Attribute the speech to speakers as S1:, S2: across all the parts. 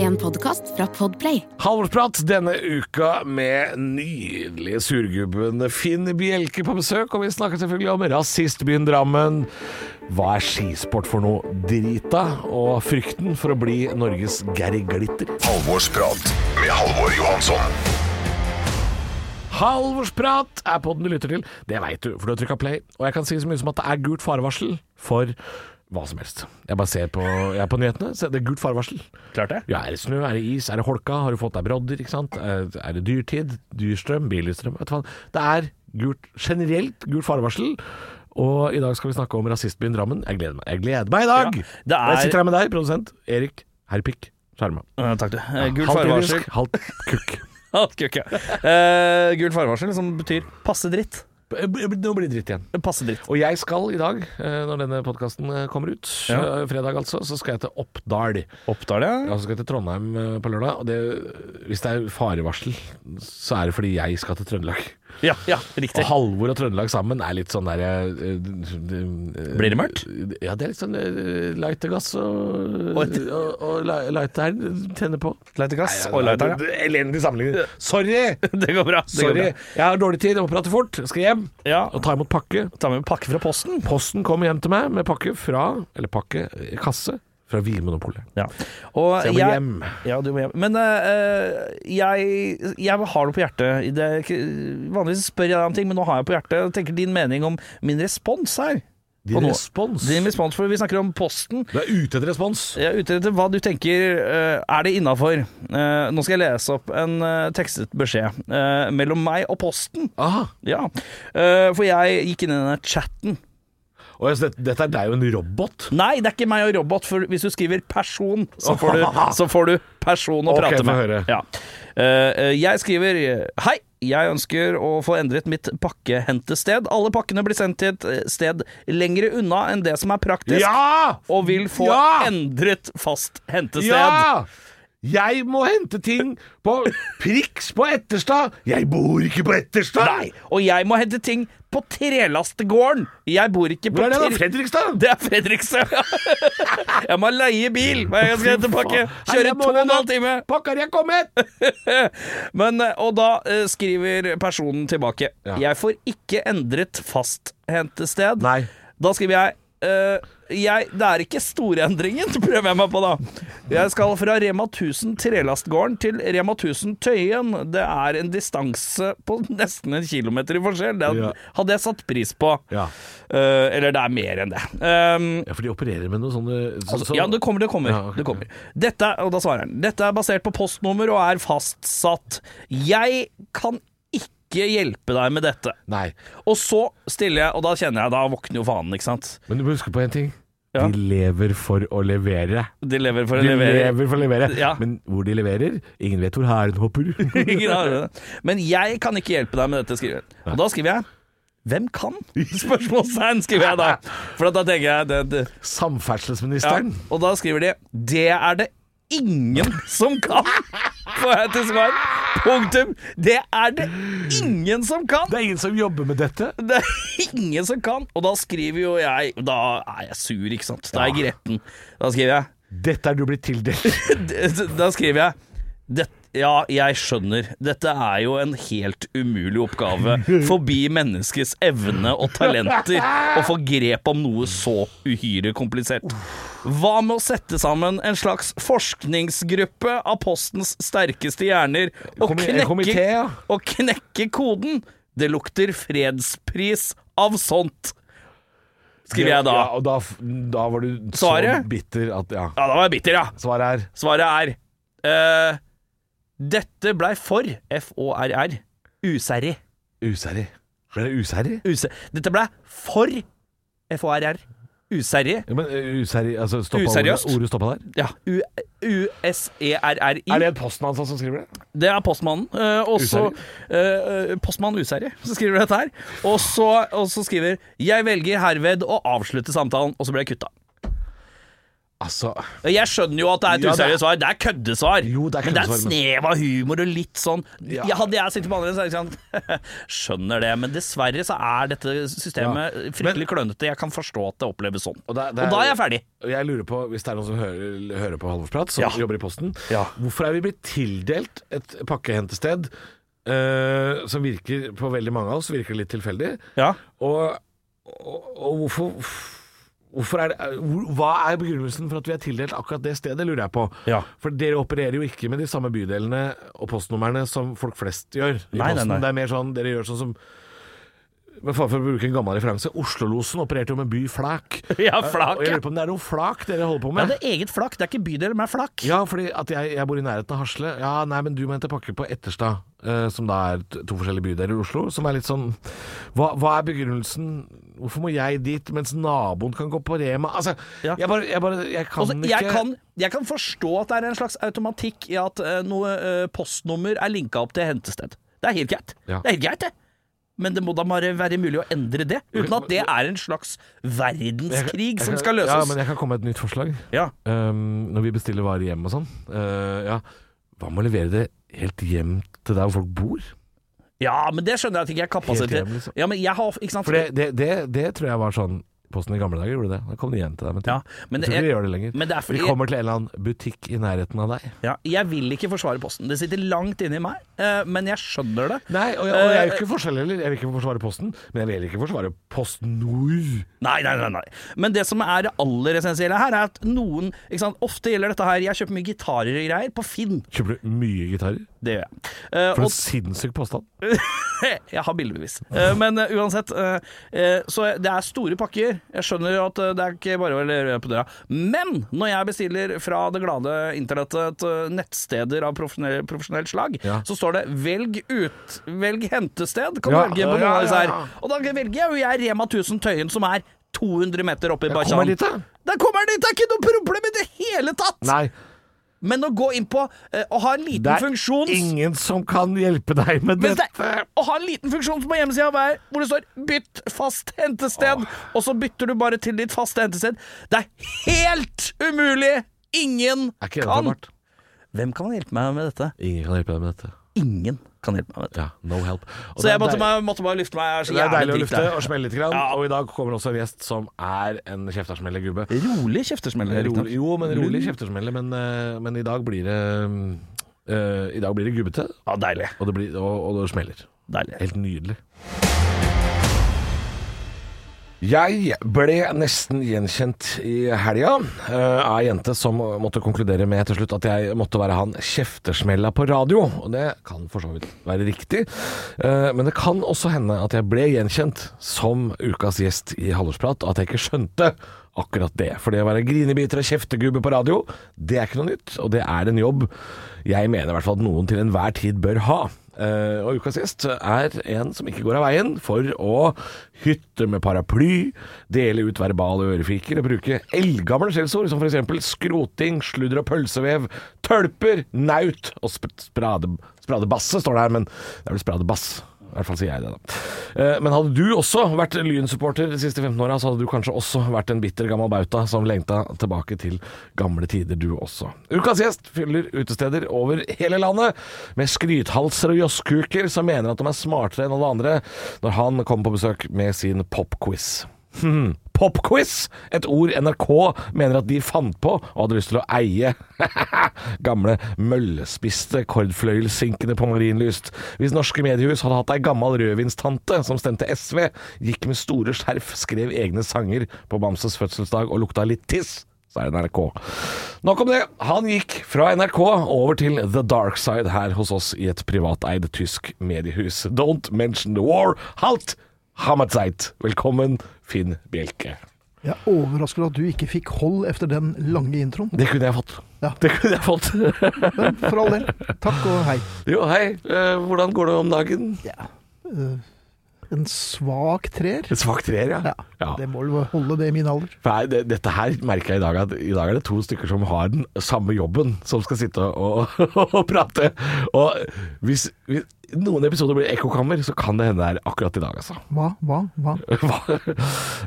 S1: En podkast fra Podplay.
S2: Halvorprat denne uka med nydelige surgubben Finn Bjelke på besøk, og vi snakker selvfølgelig om rasistbyen Drammen. Hva er skisport for noe? Drita og frykten for å bli Norges Gary Glitter.
S3: Halvorsprat med Halvor Johansson.
S2: Halvorsprat er podden du lytter til. Det veit du, for du har trykka play. Og jeg kan si så mye som at det er gult farevarsel for hva som helst. Jeg bare ser på, jeg er på nyhetene, så det er gult farevarsel.
S4: Klart det.
S2: Ja, er det snø, er det is, er det holka, har du fått deg brodder, ikke sant? Er er det dyrtid, dyrstrøm, billigstrøm, vet du hva. Det er gult, generelt gult farevarsel. Og i dag skal vi snakke om rasistbyen Drammen. Jeg gleder meg, jeg gleder meg i dag!
S4: Ja, det er-
S2: Jeg sitter her med deg, produsent Erik Herpik Skjerma.
S4: Eh, takk, du. Eh, Gult
S2: Halvt
S4: farevarsel.
S2: indisk, halvt kukk.
S4: Alt kukk, ja. Eh, Gult farevarsel, som betyr passe dritt. Eh,
S2: Nå blir det dritt igjen.
S4: Passe dritt.
S2: Og jeg skal i dag, eh, når denne podkasten kommer ut,
S4: Ja.
S2: eh, fredag altså, så skal jeg til Oppdal.
S4: Oppdal, ja.
S2: Og så skal jeg til Trondheim eh, på lørdag. Og det, hvis det er farevarsel, så er det fordi jeg skal til Trøndelag.
S4: Ja, ja
S2: Og
S4: riktig.
S2: Halvor og Trøndelag sammen er litt sånn der eh, eh,
S4: Blir det mørkt?
S2: Ja, det er litt sånn eh, lightergass og,
S4: Og
S2: og,
S4: et-
S2: og li- lighter tenner på.
S4: Lightergass og lighter, ja.
S2: Det- det- Elendig sammenligning. Sorry!
S4: Det går bra. Det går
S2: Sorry.
S4: bra.
S2: Jeg har dårlig tid, jeg må prate fort. Jeg skal hjem
S4: Ja,
S2: og ta imot pakke.
S4: ta med pakke fra posten.
S2: Posten kommer hjem til meg med pakke fra Eller pakke, eh, kasse fra Vinmonopolet.
S4: Ja. Og
S2: Så jeg må hjem.
S4: Ja, du må hjem. Men eh, jeg, jeg har noe på hjertet. Det er ikke, vanligvis spør jeg deg om ting, men nå har jeg på hjertet. Jeg tenker din mening om min respons her. Og
S2: Din
S4: nå-
S2: respons.
S4: Din respons, for Vi snakker om Posten.
S2: Du er ute etter respons.
S4: Jeg er ute etter hva du tenker eh, er det innafor. Eh, nå skal jeg lese opp en eh, tekstet beskjed eh, mellom meg og Posten.
S2: Aha.
S4: Ja, Eh, For jeg gikk inn i denne chatten.
S2: Og jeg, dette, dette er deg og en robot.
S4: Nei, det er ikke meg og robot, for hvis du skriver 'person', så får du, så får du 'person' å
S2: Ok,
S4: prate
S2: få
S4: med.
S2: høre.
S4: Ja. Eh, eh, jeg skriver eh, 'Hei, jeg ønsker å få endret mitt pakkehentested'. Alle pakkene blir sendt til et eh, sted lengre unna enn det som er praktisk,
S2: Ja!
S4: og vil få
S2: Ja!
S4: endret fast hentested.
S2: Ja! Jeg må hente ting på Priks på Etterstad. Jeg bor ikke på Etterstad.
S4: Nei, og jeg må hente ting på trelastegården. Jeg bor ikke på
S2: Hvor er det da?
S4: tre-
S2: Fredrikstad?
S4: Det er Fredrikstad. jeg må leie bil hver gang jeg skal hente pakke.
S2: Her,
S4: Kjøre
S2: jeg
S4: to
S2: må
S4: og
S2: det
S4: en
S2: da.
S4: halv time.
S2: Pakker jeg kommet?
S4: Men, eh, og da eh, skriver personen tilbake
S2: Ja.
S4: Jeg får ikke endret fasthentested.
S2: Nei.
S4: Da skriver jeg eh, jeg, det er ikke storendringen, prøver jeg meg på da. Jeg skal fra Rema 1000 Trelastgården til Rema 1000 Tøyen. Det er en distanse på nesten en kilometer i forskjell. Det
S2: Ja.
S4: hadde jeg satt pris på.
S2: Ja.
S4: Eh, eller det er mer enn det. Um,
S2: ja, for de opererer med noe sånne så,
S4: Altså,
S2: så,
S4: ja, det kommer, det kommer.
S2: Ja, ok.
S4: det kommer. Dette, er- og da svarer han. Dette er basert på postnummer og er fastsatt. Jeg kan ikke hjelpe deg med dette.
S2: Nei.
S4: Og så stiller jeg, og da kjenner jeg, da våkner jo fanen, ikke sant.
S2: Men du må huske på en ting.
S4: Ja.
S2: De lever for å levere.
S4: De lever for å
S2: De
S4: levere.
S2: lever for å levere.
S4: Ja.
S2: Men hvor de leverer Ingen vet hvor hæren hopper.
S4: Ingen har det. Men jeg kan ikke hjelpe deg med dette, skriver jeg. Og da skriver jeg hvem kan? Spørsmålstegn, skriver jeg da. For da tenker jeg det, det. Ja.
S2: Samferdselsministeren.
S4: Og da skriver de Det er det ingen som kan Får jeg til svar Punktum Det er det ingen som kan
S2: Det er ingen som jobber med dette.
S4: Det er ingen som kan Og da skriver jo jeg Da er jeg sur, ikke sant? Da er jeg gretten Da skriver jeg
S2: Dette er du blitt tildelt.
S4: da skriver jeg det, Ja, jeg skjønner. Dette er jo en helt umulig oppgave. Forbi menneskets evne og talenter å få grep om noe så uhyre komplisert. Hva med å sette sammen en slags forskningsgruppe av postens sterkeste hjerner og
S2: Komi- en komité,
S4: knekke,
S2: ja.
S4: og knekke koden? Det lukter fredspris av sånt, skriver jeg da.
S2: Ja, og da, f- da var du
S4: Svaret?
S2: så bitter at Ja.
S4: Ja, da var jeg bitter, ja.
S2: Svaret er
S4: Svaret er eh, Dette blei for F-O-R-R Usærlig
S2: Usærlig. Ble det usærlig?
S4: Use Dette blei for F-O-R-R Usærlig
S2: Ja, men eh, useri, altså stoppa
S4: Useriøst?
S2: Ordet, ordet stoppa der?
S4: Ja U- E, U-S-E-R-R-I
S2: Er
S4: det?
S2: det en postmann som skriver det?
S4: er postmannen uh, Også uh, Postmann usærlig Så skriver du dette her og så, og så skriver Jeg velger herved å avslutte samtalen Og så ble jeg kutta
S2: Altså
S4: Jeg skjønner jo at det er
S2: Ja,
S4: et
S2: det er-
S4: useriøst svar. Det er køddesvar.
S2: Jo, det er
S4: men det er et
S2: køddesvar, men-
S4: snev av humor og litt sånn
S2: Ja.
S4: ja. Hadde jeg sittet på andre siden, så hadde jeg sånn Skjønner det, men dessverre så er dette systemet
S2: Ja.
S4: fryktelig klønete. Jeg kan forstå at det oppleves sånn.
S2: Og
S4: Og,
S2: det er- det er-
S4: da er jeg ferdig.
S2: Og Jeg lurer på, hvis det er noen som hører, hører på Halvorsprat, som
S4: Ja.
S2: jobber i Posten
S4: Ja.
S2: Hvorfor er vi blitt tildelt et pakkehentested eh, som virker på veldig mange av oss virker litt tilfeldig?
S4: Ja.
S2: Og, og, og hvorfor, hvorfor er det, hvor, Hva er begrunnelsen for at vi er tildelt akkurat det stedet, lurer jeg på.
S4: Ja.
S2: For dere opererer jo ikke med de samme bydelene og postnumrene som folk flest gjør. i
S4: Nei, nei,
S2: posten.
S4: nei.
S2: Det er mer sånn, dere gjør sånn som men for, for å bruke en gammel referanse, Oslolosen opererte jo med by Flak.
S4: Ja, flak,
S2: Og jeg
S4: ja.
S2: lurer på om det er noe flak dere holder på
S4: Ja,
S2: med?
S4: det er eget flak. Det er ikke bydel, men flak.
S2: Ja, fordi at jeg, jeg bor i nærheten av Hasle. Ja, nei, men du må hente pakke på Etterstad, eh, som da er t- to forskjellige bydeler i Oslo. Som er litt sånn hva, hva er begrunnelsen? Hvorfor må jeg dit, mens naboen kan gå på Rema? Altså,
S4: Ja.
S2: jeg bare Jeg, bare, jeg kan
S4: Altså,
S2: ikke
S4: jeg, kan, jeg kan forstå at det er en slags automatikk i at eh, noe eh, postnummer er linka opp til hentested. Det er helt greit.
S2: Ja.
S4: Det er helt greit, det. Men det må da bare være mulig å endre det, uten at det er en slags verdenskrig som skal
S2: Ja, men
S4: løses.
S2: jeg kan komme med et nytt forslag.
S4: Ja,
S2: Um, når vi bestiller varer hjem og sånn. Eh, ja, hva med å levere det helt hjem til der hvor folk bor?
S4: ja men det skjønner jeg at ikke jeg har
S2: Helt
S4: kapasitet
S2: jævlig, så.
S4: Ja, men jeg har ikke sant?
S2: For det, det, det, det tror jeg var sånn Posten i gamle dager gjorde det. Da kom de igjen til deg med ting.
S4: Ja, men
S2: jeg tror
S4: jeg-
S2: ikke de gjør det lenger.
S4: men det er fordi-
S2: De kommer til en eller annen butikk i nærheten av deg.
S4: ja, jeg vil ikke forsvare Posten. Det sitter langt inni meg, eh, men jeg skjønner det.
S2: Nei, og jeg, og jeg er jo ikke forskjell heller. Jeg vil ikke forsvare Posten, men jeg vil heller ikke forsvare PostNord.
S4: Nei, nei, nei, nei. Men det som er det aller essensielle her, er at noen ikke sant? Ofte gjelder dette her Jeg kjøper mye gitarer og greier på Finn.
S2: Kjøper du mye gitarer?
S4: Det gjør jeg. Eh,
S2: For
S4: og
S2: en sinnssyk påstand.
S4: jeg har bildebevis. Eh, men eh, uansett. eh, eh, så det er store pakker. Jeg skjønner jo at eh, det er ikke bare å levere på døra. Men når jeg bestiller fra det glade internettet eh, nettsteder av profesjonell, profesjonelt slag,
S2: Ja.
S4: så står det 'velg ut', 'velg hentested'. Kan
S2: Ja,
S4: du velge på noen
S2: ja,
S4: av disse her.
S2: ja, ja.
S4: Og da velger jeg jo jeg Rema 1000 Tøyen, som er 200 meter opp i
S2: kommer
S4: Bajan.
S2: dit, da.
S4: Der kommer den dit! Det er ikke noe problem i det hele tatt!
S2: Nei,
S4: Men å gå inn på eh, å ha en liten
S2: det er
S4: funksjon
S2: ingen som kan hjelpe deg med
S4: men det,
S2: dette.
S4: å ha en liten funksjon på hjemmesida hver hvor det står 'bytt fast hentested', og så bytter du bare til ditt faste hentested. Det er helt umulig! Ingen
S2: Er ikke det
S4: kan
S2: Bart?
S4: Hvem kan hjelpe meg med dette?
S2: Ingen kan hjelpe deg med dette.
S4: Ingen kan hjelpe meg med dette.
S2: Ja, no help. Og
S4: Så
S2: det er
S4: jeg måtte,
S2: deil-
S4: bare- måtte bare lufte meg. Jeg er så
S2: det er
S4: jævlig
S2: deilig å lufte
S4: drita.
S2: og smelle litt. Grann.
S4: Ja.
S2: Og i dag kommer det også en gjest som er en kjeftasmellegubbe.
S4: Rolig kjeftesmell. riktignok.
S2: Rolig, jo, men rolig kjeftesmelle. Men, eh, men i dag blir det eh, I dag blir det gubbete,
S4: Ja, deilig.
S2: og det, blir, og, og det smeller.
S4: deilig.
S2: Helt nydelig. Jeg ble nesten gjenkjent i helga eh, av ei jente som måtte konkludere med til slutt at jeg måtte være han kjeftesmella på radio. Og det kan for så vidt være riktig, Eh, men det kan også hende at jeg ble gjenkjent som ukas gjest i Halvorsprat, og at jeg ikke skjønte akkurat det. For det å være grinebiter og kjeftegubbe på radio, det er ikke noe nytt, og det er en jobb jeg mener i hvert fall at noen til enhver tid bør ha. Eh, og ukas gjest er en som ikke går av veien for å hytte med paraply, dele ut verbale ørefiker og bruke eldgamle skjellsord som f.eks. skroting, sludder og pølsevev, tølper, naut og sp sprade, spradebasse, står det her, men det er vel spradebass. I hvert fall sier jeg det, da. Eh, Men hadde du også vært Lyn-supporter de siste 15 åra, så hadde du kanskje også vært en bitter gammel bauta som lengta tilbake til gamle tider, du også. Ukas gjest fyller utesteder over hele landet med skrythalser og josskuker som mener at de er smartere enn alle andre, når han kommer på besøk med sin popquiz. Hmm. Popquiz, et ord NRK mener at de fant på og hadde lyst til å eie. Gamle møllespiste kordfløyelsinkende på Marienlyst. Hvis norske mediehus hadde hatt ei gammal rødvinstante som stemte SV, gikk med store skjerf, skrev egne sanger på Bamses fødselsdag og lukta litt tiss, så er det NRK. Nok om det. Han gikk fra NRK over til The Dark Side her hos oss i et privateid tysk mediehus. Don't mention the war. Halt! Hamatzeit. Velkommen, Finn Bjelke.
S5: Jeg er overrasket at du ikke fikk hold etter den lange introen.
S2: Det kunne jeg fått.
S5: Ja.
S2: Det kunne jeg fått.
S5: Men for all del, takk og hei.
S2: jo, hei. Eh, hvordan går det om dagen?
S5: Ja. Eh, En svak treer?
S2: Et svakt treer, ja.
S5: Ja,
S2: Ja.
S5: Det må vel holde det i min alder.
S2: For her, det, dette her merker jeg i dag at i dag er det to stykker som har den samme jobben, som skal sitte og, og, prate. Og hvis, hvis noen episoder blir ekkokammer, så kan det hende her akkurat i dag, altså.
S5: Hva, hva, hva?
S2: Hva?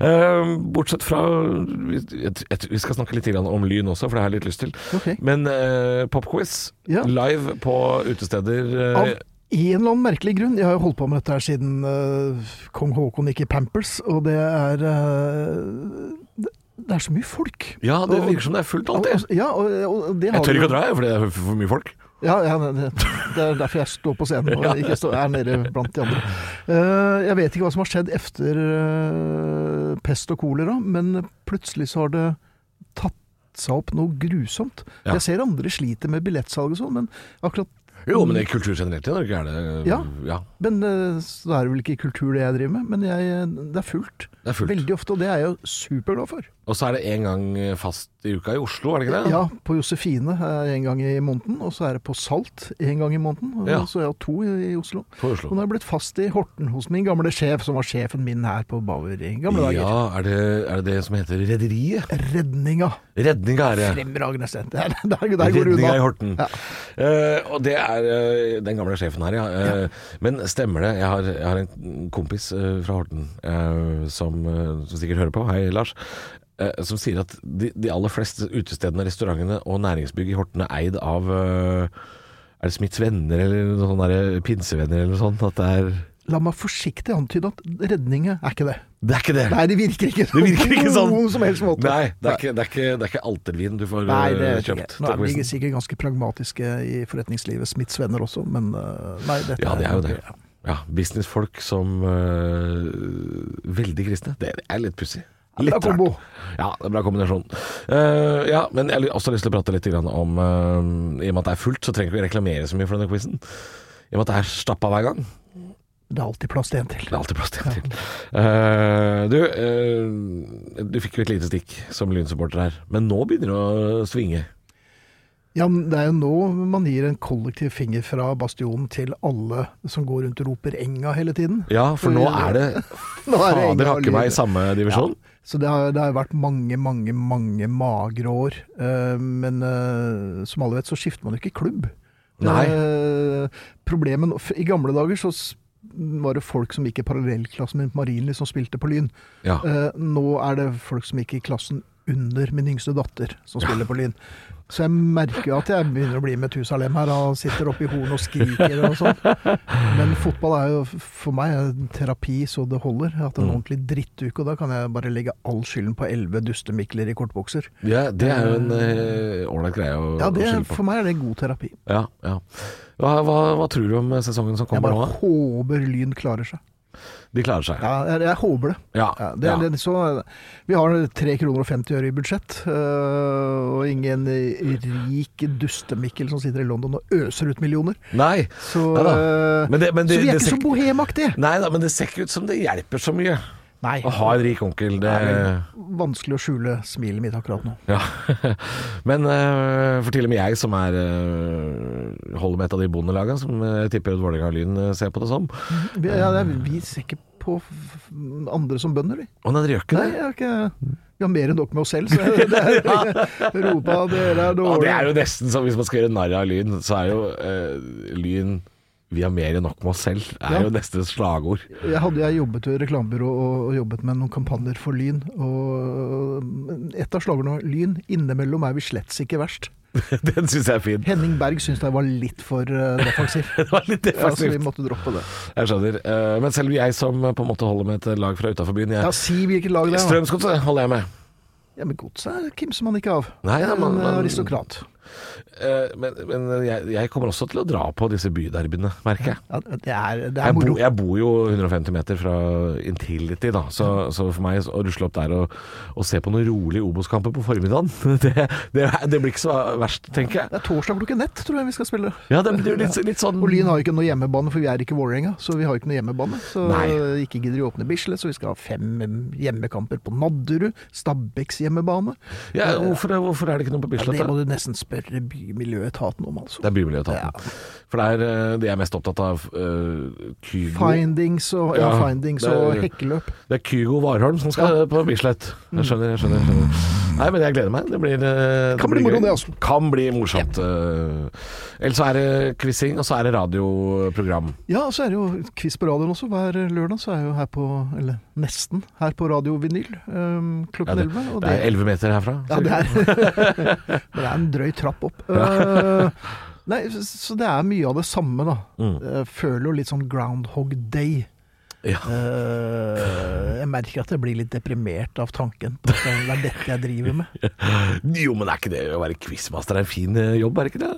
S2: Eh, Bortsett fra vi, jeg- jeg- vi skal snakke litt grann om lyn også, for det har jeg litt lyst til.
S5: Ok.
S2: Men eh, popquiz
S5: Ja.
S2: live på utesteder
S5: Av
S2: eh,
S5: en eller annen merkelig grunn. Jeg har jo holdt på med dette her siden eh, kong Haakon gikk i Pampers, og det er eh, det, det er så mye folk.
S2: Ja, det
S5: Og-
S2: virker som det er fullt alltid.
S5: Ja, og, og det har
S2: Jeg tør ikke å
S5: du-
S2: dra, jeg, fordi det er for mye folk.
S5: Ja, ja det, det- det er derfor jeg står på scenen og ikke står, er nede blant de andre. Eh, jeg vet ikke hva som har skjedd etter eh, pest og kolera, men plutselig så har det tatt seg opp noe grusomt.
S2: Ja.
S5: Jeg ser andre sliter med billettsalg og sånn, men akkurat
S2: Jo, men i kultur generelt i Norge er det
S5: Ja.
S2: ja
S5: men eh, så er det vel ikke kultur det jeg driver med, men jeg, det er fullt.
S2: det er fullt.
S5: Veldig ofte, og det er jeg jo superglad for.
S2: Og så er det en gang fast i uka i Oslo, er det ikke det?
S5: Ja, på Josefine eh, en gang i måneden, og så er det på Salt en gang i måneden. og
S2: Ja.
S5: Så er jeg har to i, i Oslo.
S2: På
S5: Og nå
S2: Oslo.
S5: er jeg blitt fast i Horten hos min gamle sjef, som var sjefen min her på Bauer i gamle
S2: Ja,
S5: dager.
S2: er det, er det det som heter Rederiet?
S5: Redninga.
S2: Redninga er det.
S5: Fremragende sted. Der, der, der går det
S2: Redninga i
S5: unna.
S2: Horten. Eh, og det er eh, den gamle sjefen her, ja. Eh, Men stemmer det? Jeg har, jeg har en kompis eh, fra Horten eh, som, eh, som sikkert hører på. Hei, Lars. Eh, som sier at de, de aller fleste utestedene, restaurantene og næringsbygg i Horten er eid av eh, Er det Smiths venner eller noe sånt der, pinsevenner eller noe sånt? At det er
S5: La meg forsiktig antyde at Redninga er ikke det.
S2: Det er ikke det!
S5: Nei, det virker ikke sånn.
S2: Det virker ikke sånn.
S5: På noen som helst måte.
S2: Nei, det er ikke, det er ikke, det er ikke altervin du får
S5: Nei, det
S2: eh,
S5: vet jeg
S2: kjøpt.
S5: ikke. Nå er
S2: Takk,
S5: de
S2: Wilson.
S5: sikkert ganske pragmatiske i forretningslivet, Smiths venner også, men eh, nei, dette
S2: Ja, det er jo det. Ja, Businessfolk som eh, veldig kristne. Det er litt pussig.
S5: Ja, bra kombo.
S2: Ja, det er bra kombinasjon. Eh, ja, men jeg har også lyst til å prate litt grann om eh, I og med at det er fullt, så trenger vi ikke reklamere så mye for denne quizen. I og med at det er stappa hver gang.
S5: Det er alltid plass til en til.
S2: Det er alltid plass til en til. Eh, du, eh, du fikk jo et lite stikk som lynsupporter her, men nå begynner det å svinge.
S5: Ja, men Det er jo nå man gir en kollektiv finger fra bastionen til alle som går rundt og roper 'enga' hele tiden.
S2: Ja, for nå er det
S5: Nå er det enga
S2: fader
S5: og
S2: hakke meg i
S5: lyre.
S2: samme divisjon.
S5: Så det har, det har vært mange, mange mange magre år. Eh, men eh, som alle vet, så skifter man jo ikke klubb.
S2: Nei.
S5: Eh, problemet nå- f- I gamle dager så s- var det folk som gikk i parallellklassen min på Marienlyst som spilte på Lyn.
S2: Ja.
S5: Eh, nå er det folk som gikk i klassen under min yngste datter som spiller på Lyn. Så jeg merker jo at jeg begynner å bli Metusalem her og sitter oppe i horn og skriker og sånn. Men fotball er jo f- for meg en terapi så det holder. Jeg har hatt en ordentlig drittuke, og da kan jeg bare legge all skylden på elleve dustemikler i kortbokser.
S2: Ja, det er jo en eh, ålreit greie å,
S5: Ja,
S2: å
S5: det,
S2: skylde på.
S5: For meg er det god terapi.
S2: Ja, ja. Hva, hva, hva tror du om eh, sesongen som
S5: Jeg
S2: kommer nå?
S5: bare håper Lyn klarer seg.
S2: De klarer seg.
S5: Ja, jeg, jeg håper det.
S2: Ja,
S5: Ja, det,
S2: ja.
S5: er Det, så, vi har 3 kroner og 50 øre i budsjett, øh, og ingen rik dustemikkel som sitter i London og øser ut millioner.
S2: Nei.
S5: Så, øh,
S2: Neida. Men det- men det-
S5: så vi er
S2: det
S5: ikke
S2: ser
S5: så
S2: ikke-
S5: bohemaktige.
S2: Nei da, men det ser ikke ut som det hjelper så mye
S5: Nei.
S2: å ha en rik onkel. Det,
S5: Vanskelig å skjule smilet mitt akkurat nå.
S2: ja. Men eh, for til og med jeg som er eh, holder med et av de bondelagene som jeg tipper at Vålerenga og Lyn eh, ser på det som Å
S5: Vi, ja, det er, vi ser ikke på f- andre som bønder, vi.
S2: nei, dere gjør ikke
S5: Nei,
S2: det?
S5: jeg har ikke... Vi har mer enn nok med oss selv, så det er, Europa, dere er
S2: Ja, det
S5: dårlige.
S2: er jo nesten som hvis man skal gjøre narr av Lyn, så er jo eh, Lyn vi har mer enn nok med oss selv, er
S5: Ja.
S2: jo neste slagord.
S5: Jeg hadde jeg jobbet i reklamebyrå og, og jobbet med noen kampanjer for Lyn. Og et av slagordene var 'Lyn, innimellom er vi slett ikke verst'.
S2: Den syns jeg er fin.
S5: Henning Berg syntes jeg var litt for eh, defensiv.
S2: Det var litt
S5: Ja, så vi
S2: defensivt.
S5: måtte droppe det.
S2: Jeg skjønner. Eh, Men selv jeg som eh, på en måte holder med et lag fra utafor byen
S5: Ja,
S2: jeg,
S5: Si hvilket lag det er. da.
S2: Strømsgodset holder jeg med.
S5: Ja, men Godset kimser man ikke av.
S2: Nei, da, man-
S5: en eh,
S2: man-
S5: aristokrat.
S2: Eh, Men, men jeg, jeg kommer også til å dra på disse byderbyene, merker jeg.
S5: Ja, det er, det er
S2: Jeg, bo,
S5: moro.
S2: jeg bor jo 150 meter fra Intility, da, så, så for meg å rusle opp der og, og se på noen rolige Obos-kamper på formiddagen, det, det, det blir ikke så verst, tenker jeg.
S5: Det er torsdag klokken ett, tror jeg vi skal spille.
S2: Ja, det blir jo litt, litt sånn
S5: Og Lyn har jo ikke noe hjemmebane, for vi er ikke Vålerenga. Så vi har jo ikke noe hjemmebane. Så
S2: Nei.
S5: eh, ikke gidder de å åpne Bislett, så vi skal ha fem eh, hjemmekamper på Nadderud. Stabæks hjemmebane.
S2: ja, hvorfor, hvorfor er det ikke noe på
S5: Ja,
S2: Bislett?
S5: det
S2: da?
S5: må du nesten spe spørre bymiljøetaten om, altså.
S2: Det er Bymiljøetaten. For det er eh, de jeg er mest opptatt av. eh, Kygo.
S5: Findings og, ja,
S2: Ja,
S5: findings
S2: det-
S5: og hekkeløp.
S2: Det er Kygo Warholm som skal på Bislett. Jeg skjønner, jeg skjønner. jeg skjønner. Nei, men jeg gleder meg. Det blir, eh,
S5: Kan bli
S2: blir
S5: moro,
S2: gøy.
S5: det, altså.
S2: Kan bli morsomt. eh. Ellers så er det quizing, og så er det radioprogram.
S5: Ja, og så er det jo quiz på radioen også. Hver lørdag så er jeg jo her på Eller nesten her på Radio Vinyl um,
S2: Ja,
S5: klokken
S2: det,
S5: 11. og
S2: det er elleve meter herfra.
S5: Ja, det er Men det er en drøy trapp opp. Eh, nei, så- så det er mye av det samme, da.
S2: Mm.
S5: Jeg føler jo litt sånn Groundhog Day.
S2: Ja.
S5: Eh, jeg merker at jeg blir litt deprimert av tanken på at det er dette jeg driver med.
S2: Jo, men er ikke det å være quizmaster er en fin eh, jobb, er det ikke det?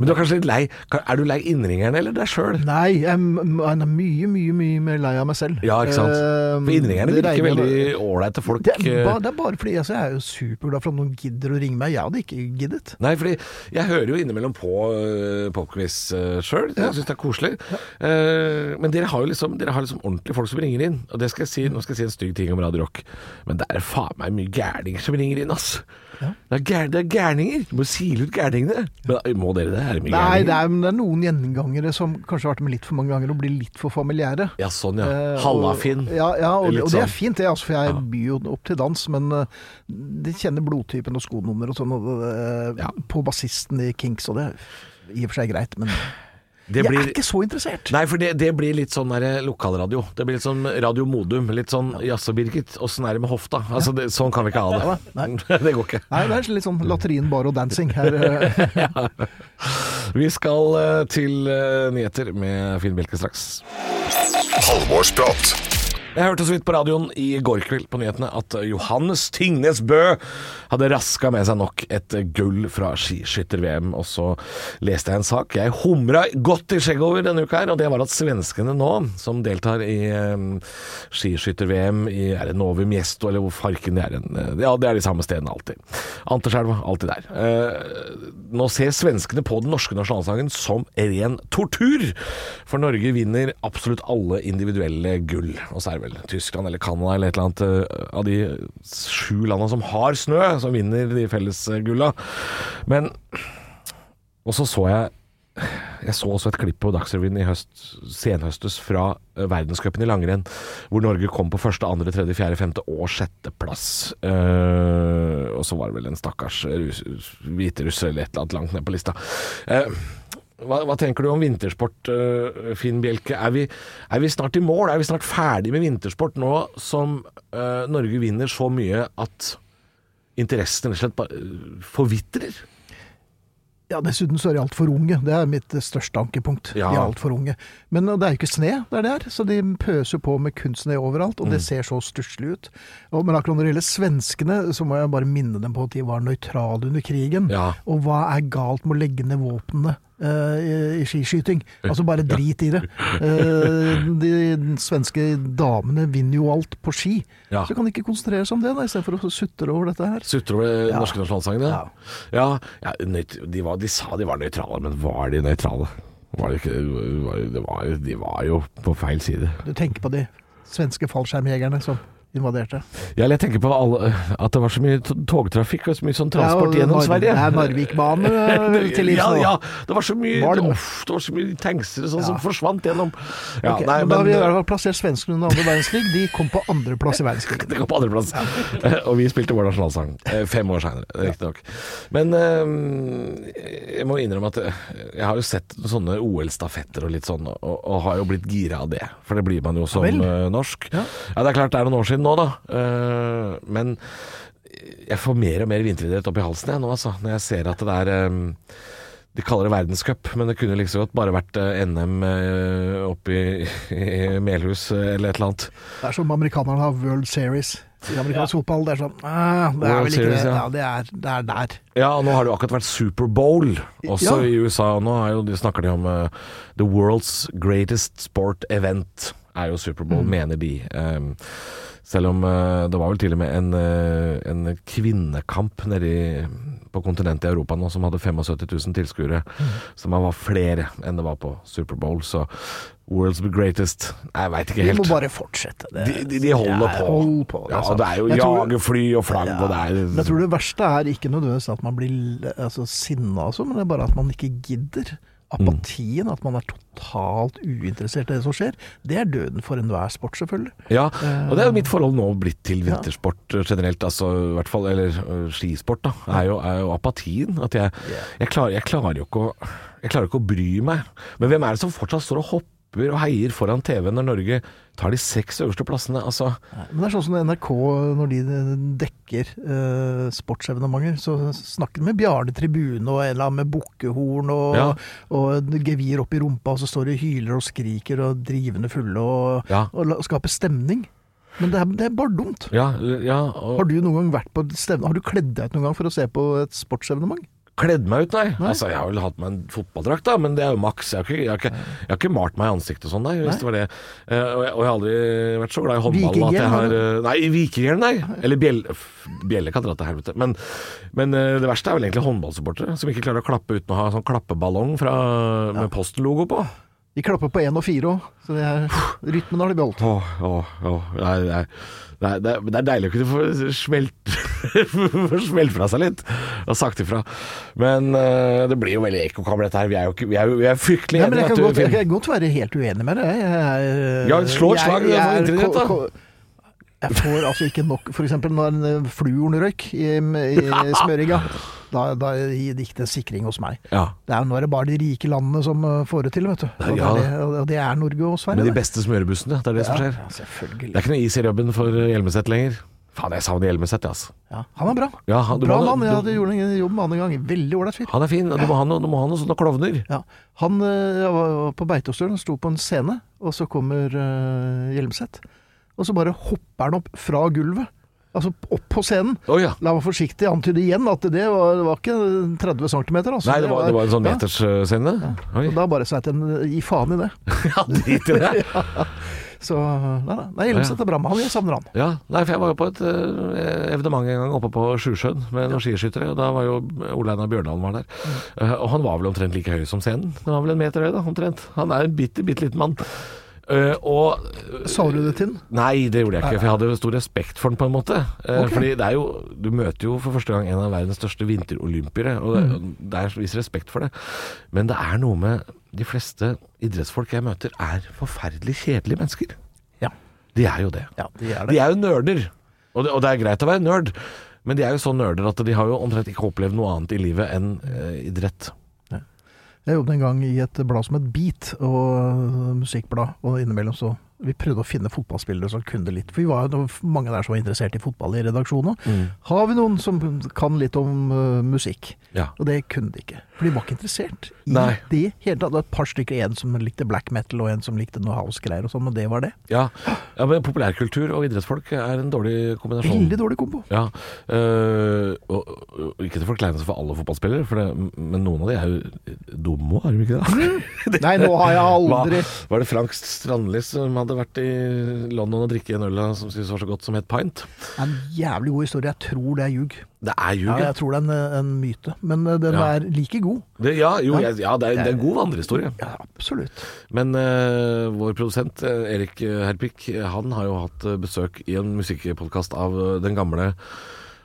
S2: Men du er kanskje litt lei Ka- Er du lei innringerne eller deg sjøl?
S5: Nei, jeg m- jeg er mye, mye, mye mer lei av meg selv.
S2: Ja, ikke sant?
S5: Eh,
S2: For innringerne
S5: det
S2: virker
S5: regner-
S2: veldig ålreite folk.
S5: det er,
S2: eh,
S5: ba, det er bare fordi altså, jeg er jo superglad for at noen gidder å ringe meg. Jeg hadde ikke giddet.
S2: Nei, fordi jeg hører jo innimellom på uh, popquiz uh, sjøl. Jeg syns det er koselig. Eh, men dere har jo liksom, dere har liksom ordentlige folk som ringer inn. Og det skal jeg si, nå skal jeg si en stygg ting om Radio Rock, men det er faen meg mye gærninger som ringer inn, ass. Det, er gær, det er gærninger. Du må sile ut gærningene. Men øh, må dere det? Er det mye
S5: Nei,
S2: gærninger?
S5: det er, men det er noen gjengangere som kanskje har vært med litt for mange ganger og blir litt for familiære.
S2: Ja, sånn ja.
S5: Eh, og-
S2: Hallafinn.
S5: Ja, ja og,
S2: Litt
S5: og det er
S2: sånn.
S5: fint, det, altså, for jeg byr jo opp til dans. Men eh, de kjenner blodtypen og skonummer og sånn og, eh,
S2: Ja.
S5: på bassisten i Kinks, og det er i og for seg greit, men
S2: Det
S5: jeg
S2: blir-
S5: er ikke så interessert.
S2: Nei, for det, det blir litt sånn der lokalradio. Det blir litt sånn Radio Modum. Litt sånn Jaså, Birgit, åssen er det med hofta? Altså, det, sånn kan vi ikke ha det.
S5: Nei,
S2: det går ikke.
S5: Nei, det er litt sånn latrinen, bar og dancing her. eh.
S2: Vi skal eh, til eh, nyheter med Finn Bjelke straks.
S3: Halvorsprat.
S2: Jeg hørte så vidt på radioen i går kveld på nyhetene at Johannes Tingnes Bø hadde raska med seg nok et gull fra skiskytter-VM, og så leste jeg en sak jeg humra godt i skjegget over denne uka her, og det var at svenskene nå, som deltar i eh, skiskytter-VM i er det Novi Miesto eller hvor farken det er en, eh, Ja, det er de samme stedene alltid. Anterselva, alltid der. Eh, nå ser svenskene på den norske nasjonalsangen som ren tortur, for Norge vinner absolutt alle individuelle gull. Og så er det vel Tyskland eller Canada eller et eller annet eh, av de sju landa som har snø, som vinner de felles eh, gulla. Men Og så så jeg jeg så også et klipp på Dagsrevyen i høst, senhøstes fra eh, verdenscupen i langrenn, hvor Norge kom på første, andre, tredje, fjerde, femte og sjetteplass. Eh, og så var det vel en stakkars rus, hviterusser eller et eller annet langt ned på lista. Eh, hva, hva tenker du om vintersport, eh, Finn Bjelke? Er vi, er vi snart i mål? Er vi snart ferdig med vintersport nå som eh, Norge vinner så mye at interessen rett og slett bare eh, forvitrer?
S5: Ja, Dessuten så er de altfor unge. Det er mitt eh, største ankepunkt.
S2: Ja.
S5: De er alt for unge. Men eh, det er jo ikke sne der det er, så de pøser på med kunstsne overalt. Og det
S2: Mm.
S5: ser så stusslig ut. Og, men akkurat når det gjelder svenskene, så må jeg bare minne dem på at de var nøytrale under krigen.
S2: Ja.
S5: Og hva er galt med å legge ned våpnene? eh, I, I skiskyting. Altså, bare drit i det. Eh, de svenske damene vinner jo alt på ski.
S2: Ja.
S5: Så kan de ikke konsentrere seg om det, da, istedenfor å sutre over dette her.
S2: Sutter over den
S5: Ja.
S2: norske nasjonalsangen, ja. ja. ja, nøyt, de, var, de sa de var nøytrale, men var de nøytrale? Var de, ikke, var, det var, de var jo på feil side.
S5: Du tenker på de svenske fallskjermjegerne som invaderte.
S2: Ja, eller jeg tenker på alle, at det var så mye to- togtrafikk og så mye sånn transport
S5: Det er jo
S2: gjennom
S5: Narv-
S2: Sverige.
S5: Det er Narvikbanen til livs
S2: ja,
S5: nå.
S2: ja, det var så mye
S5: Malm.
S2: uff, det var så mye tanksere sånn,
S5: Ja.
S2: som forsvant gjennom ja, nei,
S5: Ok, men da har
S2: men, eh,
S5: vi i hvert fall plassert svenskene under andre verdenskrig. De kom på andreplass i verdenskrigen.
S2: Det kom på andreplass. Eh, og vi spilte vår nasjonalsang eh, fem år seinere, riktignok. Men eh, jeg må innrømme at eh, jeg har jo sett sånne OL-stafetter og litt sånn, og, og har jo blitt gira av det. For det blir man jo som
S5: vel.
S2: eh, norsk. Ja.
S5: Ja.
S2: det er klart det er noen år siden nå, da. Eh, men jeg får mer og mer vinteridrett opp i halsen jeg nå, altså. Når jeg ser at det er eh, de kaller det verdenscup, men det kunne like så godt bare vært eh, NM eh, oppe i, i Melhus eh, eller et eller annet.
S5: Det er som amerikanerne har World Series i amerikansk fotball. Det er sånn ah, Det er
S2: World
S5: vel ikke
S2: Series,
S5: det.
S2: ja.
S5: Ja, det er, det er der.
S2: Ja, og nå har det jo akkurat vært Superbowl også
S5: Ja.
S2: i USA. Og nå er jo, de snakker de om eh, the world's greatest sport event. er jo
S5: Mm.
S2: Superbowl, mener de. Ehm, selv om eh, det var vel til og med en, eh, en kvinnekamp nede i- på kontinentet i Europa nå som hadde 75 000 tilskuere,
S5: Mm.
S2: som var flere enn det var på Superbowl. Så World's Greatest Jeg veit ikke
S5: Vi må
S2: helt.
S5: bare fortsette. Det.
S2: De, de, de holder
S5: Ja,
S2: på.
S5: hold på,
S2: ja,
S5: altså.
S2: og det er jo
S5: Jeg tror-
S2: jagerfly og flagg, og det er
S5: Men jeg tror det verste er ikke nødvendigvis at man blir l- altså, sinna, altså, men det er bare at man ikke gidder. Apatien, at man er totalt uinteressert i det som skjer, det er døden for enhver sport, selvfølgelig.
S2: Ja, og det er jo mitt forhold nå blitt til vintersport eh, generelt, altså i hvert fall, eller eh, skisport, da, er jo, er jo apatien. At jeg, jeg, klarer, jeg klarer jo ikke å Jeg klarer ikke å bry meg. Men hvem er det som fortsatt står og hopper og heier foran TV når Norge tar de seks øverste plassene? Altså,
S5: Men det er sånn som NRK, når de dekker eh, sportsevenementer, så snakker de med Bjarne Tribune og en eller annen med bukkehorn og,
S2: Ja.
S5: og en gevir opp i rumpa, og så står de og hyler og skriker og drivende fulle og,
S2: Ja.
S5: og, la- og skaper stemning. Men det er, det er bare dumt.
S2: ja, ja og
S5: Har du noen gang vært på et stevne? Har du kledd deg ut noen gang for å se på et sportsevenement?
S2: kledd meg ut, nei. Altså, jeg har vel hatt meg en fotballdrakt, da, men det er jo maks. Jeg har ikke, jeg har ikke, jeg har ikke malt meg i ansiktet og sånn, nei. Hvis det var det. Eh, og, jeg, og jeg har aldri vært så glad i håndball at
S5: Vikinghjelm,
S2: jeg
S5: har
S2: har
S5: du?
S2: eh, Nei, i vikinghjelm, nei. Eller bjelle f- Bjelle kan dra til helvete. Men, men eh, det verste er vel egentlig håndballsupportere, som ikke klarer å klappe uten å ha sånn klappeballong fra, med postlogo på.
S5: De klapper på én og fire òg, så det er, rytmen har de beholdt.
S2: Åh, åh, åh. Nei, nei. Nei, det, er, men det er deilig å kunne få smelt, få smelt fra seg litt og sagt ifra. Men eh, det blir jo veldig ekkokammer, dette her. Vi er jo ikke, vi er, jo- vi er fryktelig
S5: Ja, men jeg
S2: enige,
S5: kan, godt,
S2: vet
S5: jeg
S2: du, Finn.
S5: kan godt være helt uenig med deg. Jeg, er- eh,
S2: Ja, slå et slag
S5: jeg- jeg
S2: for
S5: er
S2: internett, da.
S5: ko- ko- Jeg får altså ikke nok For eksempel når en fluornrøyk i, i smøringa, da, da gikk det sikring hos meg.
S2: Ja.
S5: Det er, nå er det bare de rike landene som eh, får det til, vet du. Og,
S2: Ja.
S5: det, er det, og det er Norge og Sverige.
S2: Med de
S5: det.
S2: beste smørebussene, det er det som skjer.
S5: Ja,
S2: Det
S5: selvfølgelig.
S2: er ikke noe is i rubben for eh, Hjelmeset lenger. Faen, jeg savner Hjelmeset, jeg, altså.
S5: Ja. Han er bra.
S2: Ja, han- du
S5: bra
S2: må-
S5: mann. Jeg
S2: du-
S5: hadde gjort en jobb med han en gang. Veldig ålreit fyr.
S2: Han er fin, du må ha noen noe sånne klovner.
S5: Ja. Han eh, var var på Beitostølen, sto på en scene, og så kommer eh, Hjelmseth. Og så bare hopper han opp fra gulvet. Altså opp på scenen.
S2: Å ja.
S5: La meg forsiktig antyde igjen at det var, det var ikke 30 cm. Altså.
S2: Nei, det var, det var en sånn
S5: Ja.
S2: metersscene. Oi.
S5: Og da bare sa jeg til en gi faen i det.
S2: Ja, drit i det.
S5: Så nei, nei, nei Hjelmseth er bra med han, jeg savner han.
S2: Ja, nei, for jeg var jo på et eh, evenement en gang oppe på Sjusjøen med noen skiskyttere, og da var jo Ole Einar Bjørndalen var der.
S5: Mm.
S2: Eh, og han var vel omtrent like høy som scenen. Han var vel en meter høy, da, omtrent. Han er en bitte, bitte liten mann. Eh, og
S5: Sa du det til han?
S2: Nei, det gjorde jeg ikke, for jeg hadde jo stor respekt for den på en måte. Eh,
S5: Ok.
S2: Fordi det er jo, du møter jo for første gang en av verdens største vinterolympiere, og
S5: Mm.
S2: det, det er en viss respekt for det. Men det er noe med de fleste idrettsfolk jeg møter, er forferdelig kjedelige mennesker.
S5: Ja.
S2: De er jo det.
S5: Ja, det er det.
S2: De er jo nerder, og det, og det er greit å være nerd, men de er jo så nerder at de har jo omtrent ikke opplevd noe annet i livet enn eh, idrett.
S5: Jeg jobbet en gang i et blad som het Beat, og eh, musikkblad, og innimellom så vi prøvde å finne fotballspillere som kunne litt, for vi var jo det var mange der som var interessert i fotball i redaksjonen. også. Har vi noen som kan litt om øh, musikk?
S2: Ja.
S5: Og det kunne de ikke, for de var ikke interessert i
S2: Nei.
S5: det hele tatt. Det var et par stykker, en som likte black metal, og en som likte noe house-greier og sånn, men det var det.
S2: Ja, ja men populærkultur og idrettsfolk er en dårlig kombinasjon.
S5: Veldig dårlig kombo.
S2: Ja, øh, og, og ikke til forkleinelse for alle fotballspillere, for det, men noen av de er jo dumme, er de ikke det?
S5: Nei, nå har jeg Mm, aldri
S2: Hva, var det Frank Strandli som hadde vært i London og drikket en øl av som syntes var så godt, som het Pint?
S5: En jævlig god historie. Jeg tror det er ljug.
S2: Det er ljug,
S5: Ja,
S2: ja.
S5: jeg tror det er en, en myte, men øh, den
S2: Ja.
S5: er like god.
S2: Det, ja, jo, jeg, ja det, er, det er en god vandrehistorie.
S5: Ja, absolutt.
S2: Men øh, vår produsent øh, Erik øh, Herpik, øh, han har jo hatt øh, besøk i en musikkpodkast av øh, den gamle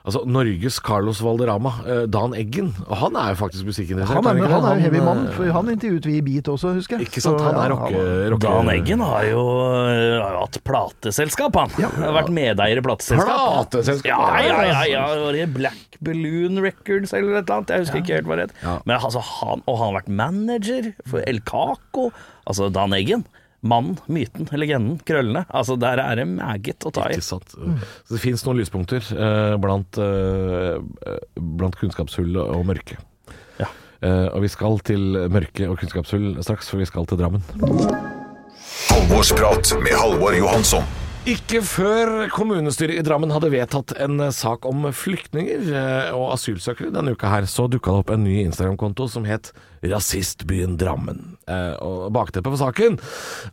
S2: Altså Norges Carlos Valderama, øh, Dan Eggen. Og han er jo faktisk musikkinteressert.
S5: Han er,
S2: ikke
S5: men
S2: det?
S5: han er jo heavy
S2: øh,
S5: mann, for han intervjuet vi i Beat også, husker jeg.
S2: Ikke sant,
S5: Så,
S2: han er
S5: ja,
S2: rocke...
S5: var-
S2: rocke-
S4: Dan Eggen har jo, eh, har jo hatt plateselskap, han. Har vært medeier i plateselskap.
S2: Plateselskap?
S4: Ja, ja, ja. ja. Var det Black Balloon Records eller et eller annet? Jeg husker ikke helt hva det het. Men altså, han, og han har vært manager for El Caco. Altså, Dan Eggen. Mannen, myten, legenden, krøllene. Altså, der er det meget å ta i.
S2: Ikke sant. Så det fins noen lyspunkter eh, blant, eh, blant kunnskapshull og mørke.
S4: Ja.
S2: Eh, og vi skal til mørke og kunnskapshull straks, for vi skal til Drammen.
S3: Halvorsprat med Halvor Johansson.
S2: Ikke før kommunestyret i Drammen hadde vedtatt en eh, sak om flyktninger eh, og asylsøkere denne uka her, så dukka det opp en ny Instagram-konto som het Rasistbyen Drammen. Eh, Og bakteppet for saken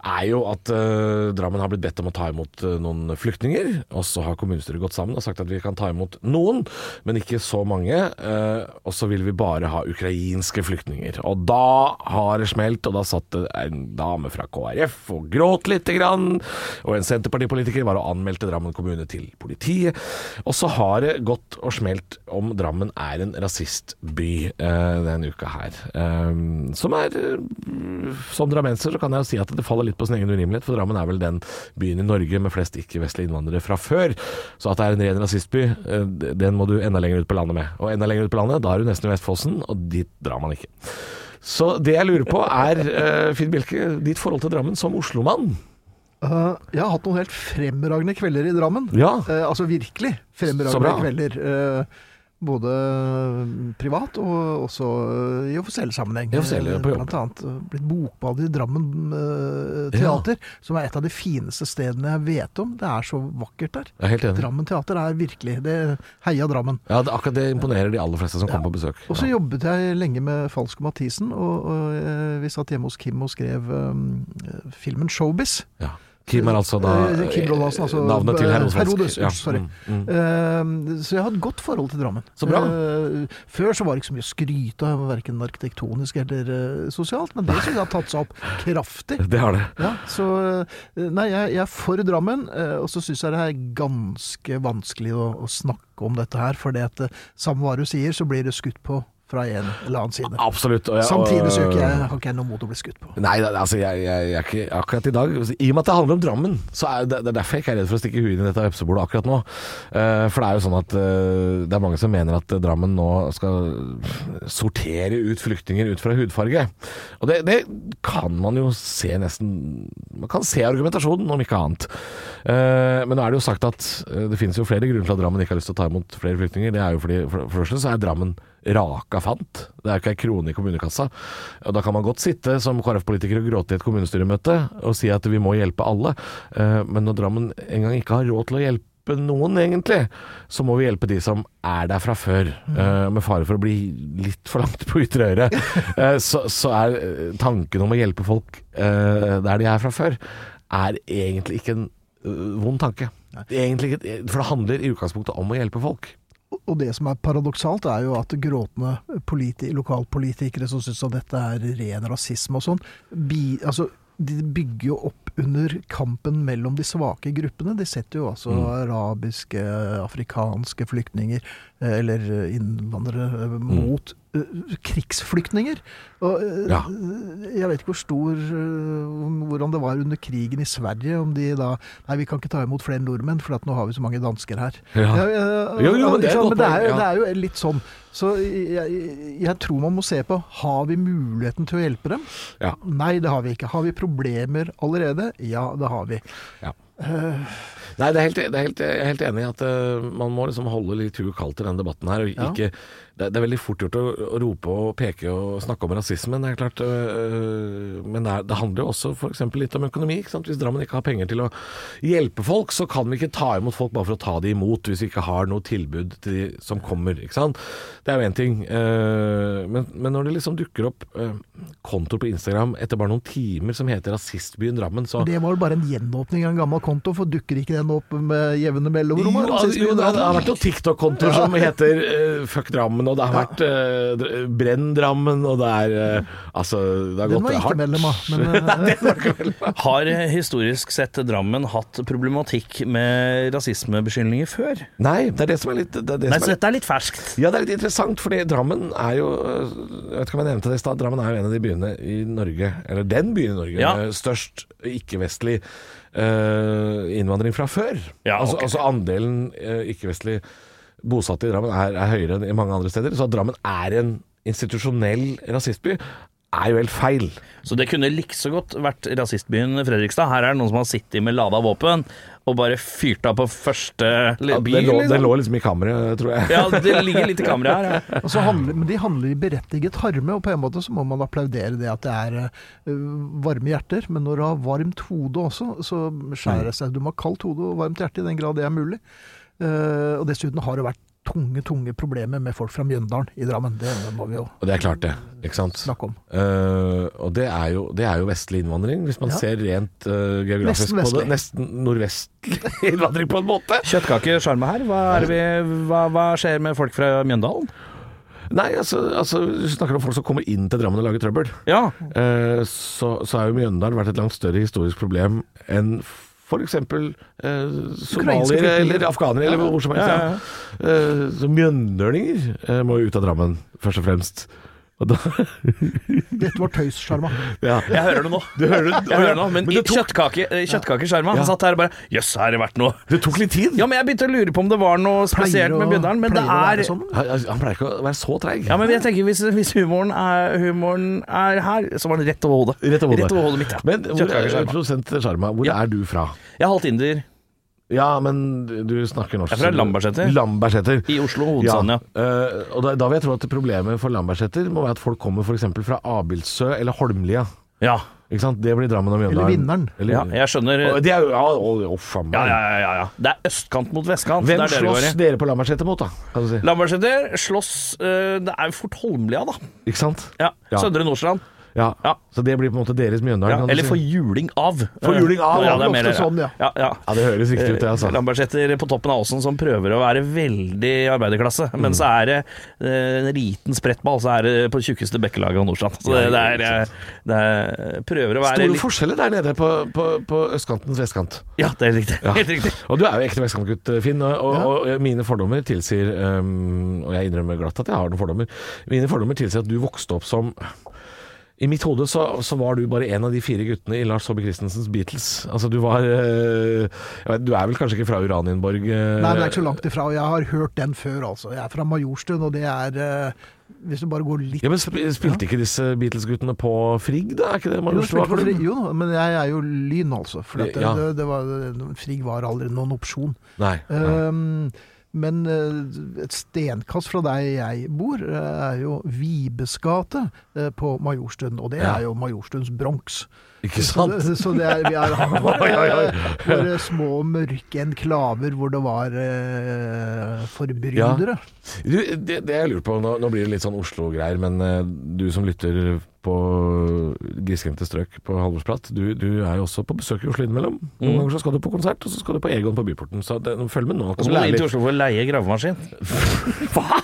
S2: er jo at eh, Drammen har blitt bedt om å ta imot eh, noen flyktninger, og så har kommunestyret gått sammen og sagt at vi kan ta imot noen, men ikke så mange, eh, og så vil vi bare ha ukrainske flyktninger. Og da har det smelt, og da satt det en dame fra KrF og gråt lite grann, og en Senterpartipolitiker var og anmeldte Drammen kommune til politiet. Og så har det gått og smelt om Drammen er en rasistby eh, denne uka her. Eh, som er eh, Som drammenser så kan jeg jo si at det faller litt på sin egen urimelighet, for Drammen er vel den byen i Norge med flest ikke-vestlige innvandrere fra før. Så at det er en ren rasistby, eh, den må du enda lenger ut på landet med. Og enda lenger ut på landet, da er du nesten i Vestfossen, og dit drar man ikke. Så det jeg lurer på er, eh, Finn Bjelke, ditt forhold til Drammen som oslomann?
S5: Eh, jeg har hatt noen helt fremragende kvelder i Drammen.
S2: Ja.
S5: Eh, altså virkelig
S2: Så
S5: fremragende
S2: bra.
S5: kvelder. eh, både mm, privat og også eh, i offisiell sammenheng.
S2: I offisiell, ja, på jobb.
S5: Blant annet eh, blitt bokbad i Drammen eh, teater, som er et av de fineste stedene jeg vet om. Det er så vakkert der.
S2: Jeg er helt enig.
S5: Drammen teater er virkelig det Heia Drammen.
S2: Ja, det, akkurat det imponerer de aller fleste som kommer på besøk.
S5: Og så
S2: Ja.
S5: jobbet jeg lenge med Falsk og Mathisen, og, og eh, vi satt hjemme hos Kim og skrev eh, filmen 'Showbiz'.
S2: Ja. Kim er altså da
S5: Eh, Kim Rollansen, altså,
S2: navnet til
S5: eh,
S2: Herodes Vensk.
S5: Herodes,
S2: Ja,
S5: sorry.
S2: mm, mm.
S5: Eh, Så jeg har et godt forhold til Drammen.
S2: Så bra.
S5: Eh, Før så var det ikke så mye å skryte av, verken arkitektonisk eller eh, sosialt, men det synes jeg har tatt seg opp kraftig.
S2: Det har det.
S5: Ja, så eh, Nei, jeg, jeg er for Drammen, eh, og så syns jeg det er ganske vanskelig å, å snakke om dette her, fordi at eh, samme hva du sier, så blir det skutt på fra en eller annen side.
S2: Absolutt. og jeg-
S5: Samtidig så er ikke jeg,
S2: og-
S5: har ikke jeg noe mot å bli skutt på.
S2: Nei, det- altså, jeg, jeg, jeg er ikke akkurat i dag altså, I og med at det handler om Drammen, så er det, det er derfor jeg ikke er redd for å stikke huet inn i dette vepsebordet akkurat nå. Eh, for det er jo sånn at eh, det er mange som mener at eh, Drammen nå skal sortere ut flyktninger ut fra hudfarge. Og det, det kan man jo se nesten Man kan se argumentasjonen, om ikke annet. Eh, men nå er det jo sagt at eh, det finnes jo flere grunner til at Drammen ikke har lyst til å ta imot flere flyktninger. Det er jo fordi, for, for det første så er Drammen raka fant. Det er jo ikke ei krone i kommunekassa. Og da kan man godt sitte som KrF-politiker og gråte i et kommunestyremøte og si at vi må hjelpe alle. Eh, Men når Drammen engang ikke har råd til å hjelpe noen, egentlig, så må vi hjelpe de som er der fra før. Eh, Med fare for å bli litt for langt på ytre øre, eh, så, så er eh, tanken om å hjelpe folk eh, der de er fra før, er egentlig ikke en øh, vond tanke. Egentlig ikke, eh, for det handler i utgangspunktet om å hjelpe folk.
S5: Og det som er paradoksalt, er jo at gråtende politi lokalpolitikere som syns at dette er ren rasisme og sånn, bi altså, de bygger jo opp under kampen mellom de svake gruppene. De setter jo altså arabiske, afrikanske flyktninger, eh, eller innvandrere, eh, mot eh, krigsflyktninger. Og, eh,
S2: Ja.
S5: Jeg vet ikke hvor stor eh, hvordan det var under krigen i Sverige, om de da Nei, vi kan ikke ta imot flere nordmenn, for at nå har vi så mange dansker her.
S2: Ja.
S5: Ja, ja,
S2: Jo, jo, men det er
S5: ikke
S2: et godt
S5: sant? men det, er jo,
S2: poeng,
S5: det
S2: ja.
S5: er jo litt sånn. Så jeg, jeg tror man må se på har vi muligheten til å hjelpe dem.
S2: Ja.
S5: Nei, det har vi ikke. Har vi problemer allerede? Ja, det har vi.
S2: Nei, det er helt, det er helt, jeg er helt enig i at eh, man må liksom holde litt huet kaldt i denne debatten her. Og
S5: Ja.
S2: ikke, det, er- det er veldig fort gjort å, å rope og peke og snakke om rasismen, det er klart. eh, men det, er, det handler jo også f.eks. litt om økonomi. Ikke sant? Hvis Drammen ikke har penger til å hjelpe folk, så kan vi ikke ta imot folk bare for å ta de imot, hvis vi ikke har noe tilbud til de som kommer. Ikke sant? Det er jo én ting. eh, men, men når det liksom dukker opp eh, kontoer på Instagram etter bare noen timer som heter Rasistbyen Drammen, så
S5: Det var vel bare en gjenåpning av en gammel konto, for dukker ikke den opp med jevne mellomrom?
S2: Jo,
S5: her,
S2: altså,
S5: sist vi
S2: jo, det,
S5: drar
S2: det har
S5: den?
S2: vært noen TikTok-kontoer som heter eh, Fuck Drammen, og det har vært eh, dr- Brenn Drammen, og det er eh, Altså, det har
S5: Den
S2: gått
S5: var jeg ikke
S2: hardt.
S5: medlem av. Men, eh,
S4: Har eh, historisk sett Drammen hatt problematikk med rasismebeskyldninger før?
S2: Nei, det er det som er litt det er det
S4: Nei,
S2: som
S4: så
S2: er,
S4: dette er litt ferskt.
S2: Ja, det er litt interessant, fordi Drammen er jo eh, Jeg vet ikke om jeg nevnte det i stad, Drammen er jo en av de byene i Norge, eller den byen i Norge,
S4: Ja.
S2: med størst ikke-vestlig eh, innvandring fra før.
S4: Ja,
S2: altså,
S4: ok.
S2: altså andelen eh, ikke-vestlig bosatte i Drammen er, er høyere enn i mange andre steder. Så at Drammen er en institusjonell rasistby, er jo helt feil.
S4: Så det kunne like så godt vært rasistbyen Fredrikstad. Her er det noen som har sittet med lada våpen og bare fyrt av på første
S2: Ja,
S4: li-
S2: det,
S4: bil.
S2: lå, det
S4: liksom.
S2: lå liksom i kammeret, tror jeg.
S4: Ja, det ligger litt i kameraet her. ja.
S5: Og så handler, men de handler i berettiget harme, og på en måte så må man applaudere det at det er øh, varme hjerter. Men når du har varmt hode også, så skjærer det seg. Du må ha kaldt hode og varmt hjerte i den grad det er mulig. Eh, og dessuten har det vært tunge, tunge problemer med folk fra Mjøndalen i Drammen. Det må vi jo
S2: Og det er klart, det. Ikke sant?
S5: snakke om.
S2: Eh, og det er, jo, det er jo vestlig innvandring, hvis man
S5: Ja.
S2: ser rent eh, geografisk
S5: Nesten
S2: på det.
S5: vestlig.
S2: Nesten nordvestlig innvandring, på en måte.
S4: Kjøttkakesjarme her. Hva, er det vi, hva, hva skjer med folk fra Mjøndalen?
S2: Nei, altså, altså hvis du snakker om folk som kommer inn til Drammen og lager trøbbel.
S4: Ja,
S2: eh, så, så har jo Mjøndalen vært et langt større historisk problem enn f.eks. Eh, somaliere
S5: flyktninger.
S2: eller afghanere, eller hvor som helst.
S4: Ja,
S2: Ja, Eh, så mjøndalinger eh, må jo ut av Drammen, først og fremst. Og da,
S5: Dette var tøyssjarma.
S2: ja.
S4: jeg hører det nå.
S2: Du hører det?
S4: Jeg hører det nå, men,
S2: Men
S4: i
S2: det tok-
S4: kjøttkake, eh, kjøttkakesjarma
S2: Ja.
S4: Han satt her og bare Jøss, har det vært noe?
S2: Det tok litt tid.
S4: Ja, men jeg begynte å lure på om det var noe spesielt
S5: Pleier å-
S4: med Mjøndalen, men det
S5: pleier å være
S4: er
S5: sånn.
S2: Han, han pleier ikke å være så treig.
S4: ja, men jeg tenker Hvis, hvis humoren, er, humoren er her, så var den rett over hodet.
S2: Rett over hodet.
S4: mitt, ja.
S2: Men hvor er,
S4: Kjøttkakesjarma.
S2: produsent Sharma, hvor
S4: Ja.
S2: er du fra?
S4: Jeg er halvt inder.
S2: Ja, men du snakker norsk.
S4: Jeg er fra
S2: så du-
S4: Lambertseter.
S2: Lambertseter.
S4: I Oslo, hovedstaden, ja.
S2: Eh, og da, da vil jeg tro at problemet for Lambertseter må være at folk kommer f.eks. fra Abildsø eller Holmlia.
S4: Ja,
S2: Ikke sant? Det blir Drammen og Mjøndalen.
S5: Eller Vinneren.
S2: Eller-
S4: ja jeg skjønner.
S2: Og
S4: Ja,
S2: Det er jo Ja, å, å, faen meg.
S4: ja, ja, ja, ja. Det er østkant mot vestkant.
S2: Hvem
S4: det er det det går
S2: slåss
S4: i.
S2: dere på Lambertseter mot, da? Kan du si.
S4: Lambertseter slåss eh, Det er jo Fort Holmlia, da.
S2: Ikke sant?
S4: Ja.
S2: Ja.
S4: Søndre Nordstrand.
S2: Ja.
S4: Ja.
S2: Så det blir på en måte deres Mjøndalen?
S4: Ja,
S2: kan du
S4: eller
S2: si.
S4: for juling av.
S2: For juling av,
S4: ja,
S2: var det
S4: det er mer
S5: ofte sånn, ja.
S4: ja, ja.
S2: Ja, det høres riktig ut, det,
S4: Eh,
S2: altså.
S4: Lambertseter på toppen av Åsen som prøver å være veldig arbeiderklasse,
S2: Mm.
S4: men så er det eh, en liten sprettball, så er det på det tjukkeste bekkelaget av Nordstrand. Så det, det, er, eh, det er Prøver å være
S2: Store
S4: litt
S2: forskjeller der nede på, på, på østkantens vestkant.
S4: Ja, det er riktig. Helt riktig.
S2: Og du er jo ekte vestkantgutt, Finn. Og, og, og mine fordommer tilsier øhm, Og jeg innrømmer glatt at jeg har noen fordommer. Mine fordommer tilsier at du vokste opp som i mitt hode så, så var du bare en av de fire guttene i Lars Saabye Christensens Beatles. Altså du var øh, jeg vet, Du er vel kanskje ikke fra Uranienborg? øh,
S5: Nei, men det er ikke så langt ifra. Og jeg har hørt den før, altså. Jeg er fra Majorstuen, og det er eh, Hvis du bare går litt
S2: ja, men sp Spilte ikke disse Beatles-guttene på Frigg, da? Er ikke det man
S5: Jo,
S2: Oslo
S5: spilte
S2: har
S5: på
S2: for
S5: Frigg,
S2: dem?
S5: jo, da, men jeg er jo lyn, altså. For at det,
S2: Ja.
S5: det, det var, Frigg var aldri noen opsjon.
S2: Nei. nei.
S5: Ehm, men eh, et stenkast fra der jeg bor, eh, er jo Vibes gate eh, på Majorstuen. Og det
S2: Ja.
S5: er jo Majorstuens Bronx.
S2: Ikke
S5: Så,
S2: sant?
S5: så det er, vi er, har
S2: Oi, oi, oi.
S5: våre små, mørke enklaver hvor det var eh, forbrytere.
S2: Du, det, det jeg lurer på, nå, nå blir det litt sånn Oslo-greier, men eh, du som lytter på grisgrendte strøk på Halvorsprat, du, du er jo også på besøk i Oslo innimellom.
S4: Mm.
S2: Noen ganger så skal du på konsert, og så skal du på Egon på Byporten. Så det, følg med nå.
S4: Og så må du inn til Oslo for å leie gravemaskin. Hva?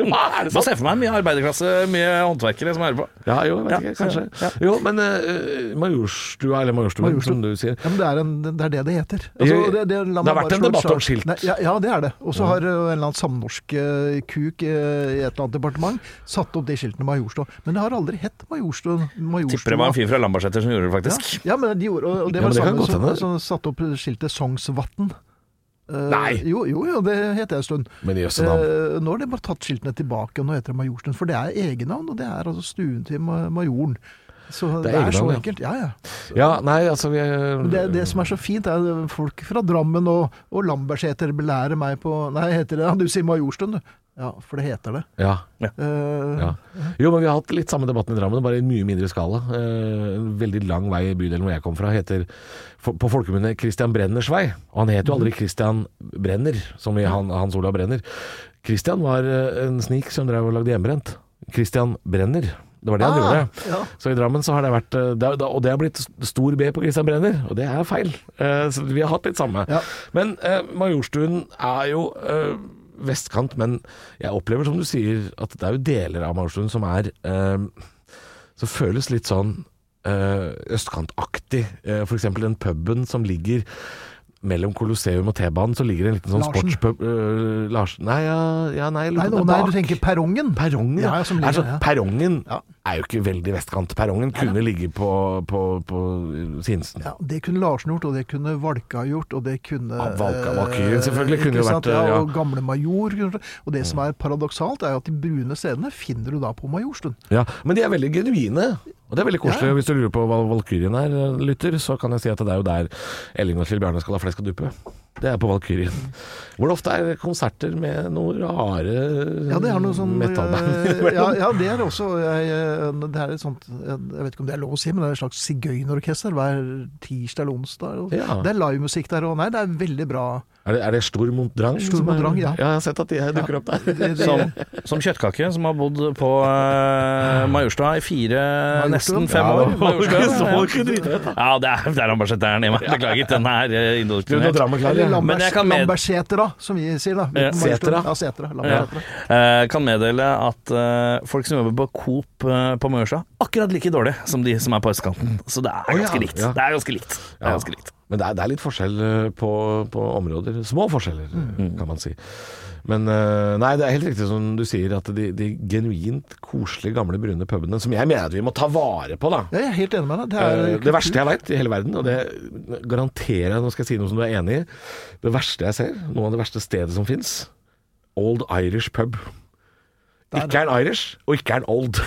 S4: Hva er det sånn? Bare se for meg mye arbeiderklasse, mye håndverkere som hører på.
S2: Ja, jo, jeg vet
S4: Ja,
S2: ikke, kanskje. Jo, men eh, Majorstua, eller Majorstuen,
S5: Majorstua.
S2: som du sier.
S5: Ja, men det, er en, det er det det heter.
S2: Jeg-
S5: la meg
S2: det har
S5: bare
S2: vært en
S5: slå et
S2: debatt om
S5: slag.
S2: skilt. Mm.
S5: Nei, ja, ja, det er det. Og så har eh, en eller annen samnorsk eh, kuk eh, i et eller annet departement satt opp de skiltene Majorstua. Men det har aldri hett Majorstua. Majorstua.
S4: Tipper det var en fyr fra Lambertseter som gjorde det, faktisk.
S5: Ja, ja, men de gjorde Og og det
S2: Ja,
S5: var
S2: men det
S5: det
S2: kan
S5: samme
S2: godt
S5: som,
S2: hende.
S5: som satte opp skiltet Sognsvatn. Eh,
S2: Nei.
S5: Jo, jo, jo, det het det en stund.
S2: Men jøsse navn.
S5: Eh, nå har de bare tatt skiltene tilbake, og nå heter det Majorstuen. For det er egennavn, og det er altså stuen til ma- majoren. Så
S2: Det
S5: det
S2: er
S5: er, så
S2: egennavn, ja.
S5: enkelt. Ja, ja.
S2: Ja, nei, altså vi
S5: Men Det, det som er så fint, er at folk fra Drammen og, og Lambertseter belærer meg på Nei, heter det Ja, du sier Majorstuen, du. Ja, for det heter det.
S2: Ja.
S5: Eh,
S2: Ja. Jo, men vi har hatt litt samme debatten i Drammen, bare i mye mindre skala. Eh, en veldig lang vei i bydelen hvor jeg kom fra, heter for, på folkemunne Christian Brenners vei. Og han het jo aldri Christian Brenner, som i han, Hans Olav Brenner. Christian var eh, en snik som drev og lagde hjemmebrent. Christian Brenner. Det var det han
S5: Ah,
S2: gjorde.
S5: ja.
S2: Så i Drammen så har det vært eh, det er, da- Og det har blitt stor B på Christian Brenner, og det er feil. Eh, Så vi har hatt litt samme.
S5: Ja.
S2: Men eh, Majorstuen er jo eh, vestkant, men jeg opplever som du sier at det er jo deler av Majorstuen som er eh, Som føles litt sånn eh, østkantaktig. Eh, for eksempel den puben som ligger mellom Colosseum og T-banen så ligger det en liten sånn
S5: Larsen.
S2: sportspub øh, Larsen Nei, ja, ja nei, jeg lurer
S5: Nei,
S2: på om
S5: nå,
S2: det
S5: nei,
S2: er
S5: du
S2: bak.
S5: tenker perrongen.
S2: Perrongen, ja.
S5: Ja, ja, som ligger,
S2: altså,
S5: ja.
S2: Perrongen
S5: Ja.
S2: er jo ikke veldig vestkant. Perrongen kunne ligge på, på, på uh, Sinsen.
S5: Ja, Det kunne Larsen gjort, og det kunne Valka gjort, og det kunne
S2: Ja, Valka Valkyrien selvfølgelig
S5: eh,
S2: kunne jo
S5: ikke
S2: vært,
S5: sant?
S2: ja.
S5: ja,
S2: Mm.
S5: Og gamle Major. kunne- Og det som er paradoksalt, er jo at de brune scenene finner du da på Majorstuen.
S2: Ja, men de er veldig genuine. Og det er veldig koselig.
S5: Ja.
S2: Hvis du lurer på hva Valkyrien er, eh, lytter, så kan jeg si at det er jo der Elling og Kjell Bjarne skal ha flesk og duppe. Det er på Valkyrien. Hvor det ofte er konserter med noen rare
S5: Mm. Ja, det er noe sånn
S2: Mm, metallband
S5: eh, ja,
S2: innimellom.
S5: ja, det er også jeg, eh, Det er et sånt Jeg jeg vet ikke om det er lov å si, men det er et slags sigøynerorkester hver tirsdag eller onsdag. Og
S2: Ja.
S5: Det er livemusikk der òg. Nei, det er veldig bra.
S2: Er det, er det Stormont Drang?
S5: Stormont
S2: som er-
S5: Drang, ja.
S2: Jeg har sett at de her dukker opp der.
S5: Det, det,
S2: sånn,
S4: Som, som kjøttkake, som har bodd på eh, Majorstua i fire, nesten fem
S2: Ja,
S4: år.
S2: det var ikke så
S4: Majorstua,
S2: ikke dritrett, da.
S4: ja. ja, det er, der har han bare sett den i meg. Beklager, den er eh,
S2: Du, nå
S4: indoktrinert.
S2: drar meg klar, ja.
S5: eller
S4: Men jeg
S5: Lambers,
S4: kan med-
S5: Lambertsetra, som vi sier, da.
S4: Ja.
S5: Utenfor Majorstuen.
S2: Setra.
S5: Ja, Setra.
S4: Ja.
S5: Lambertsetra.
S4: Eh, kan meddele at eh, folk som jobber på Coop eh, på Mørsja, akkurat like dårlig som de som er på østkanten. Så det er
S2: Å, ja.
S4: ganske likt.
S2: Ja.
S4: Det er ganske likt. Det
S2: Ja.
S4: er ganske likt.
S2: Men det er, det er litt forskjell eh, på, på områder. Små forskjeller,
S5: Mm.
S2: eh, kan man si. Men eh, nei, det er helt riktig som du sier, at de, de genuint koselige, gamle, brune pubene, som jeg mener at vi må ta vare på, da.
S5: Ja, Jeg er helt enig med deg. Det er
S2: Eh,
S5: kultur.
S2: Det verste jeg veit i hele verden, og det garanterer jeg, nå skal jeg si noe som du er enig i Det verste jeg ser, noe av det verste stedet som fins, Old Irish pub. Ikke er en Irish, og ikke er en old.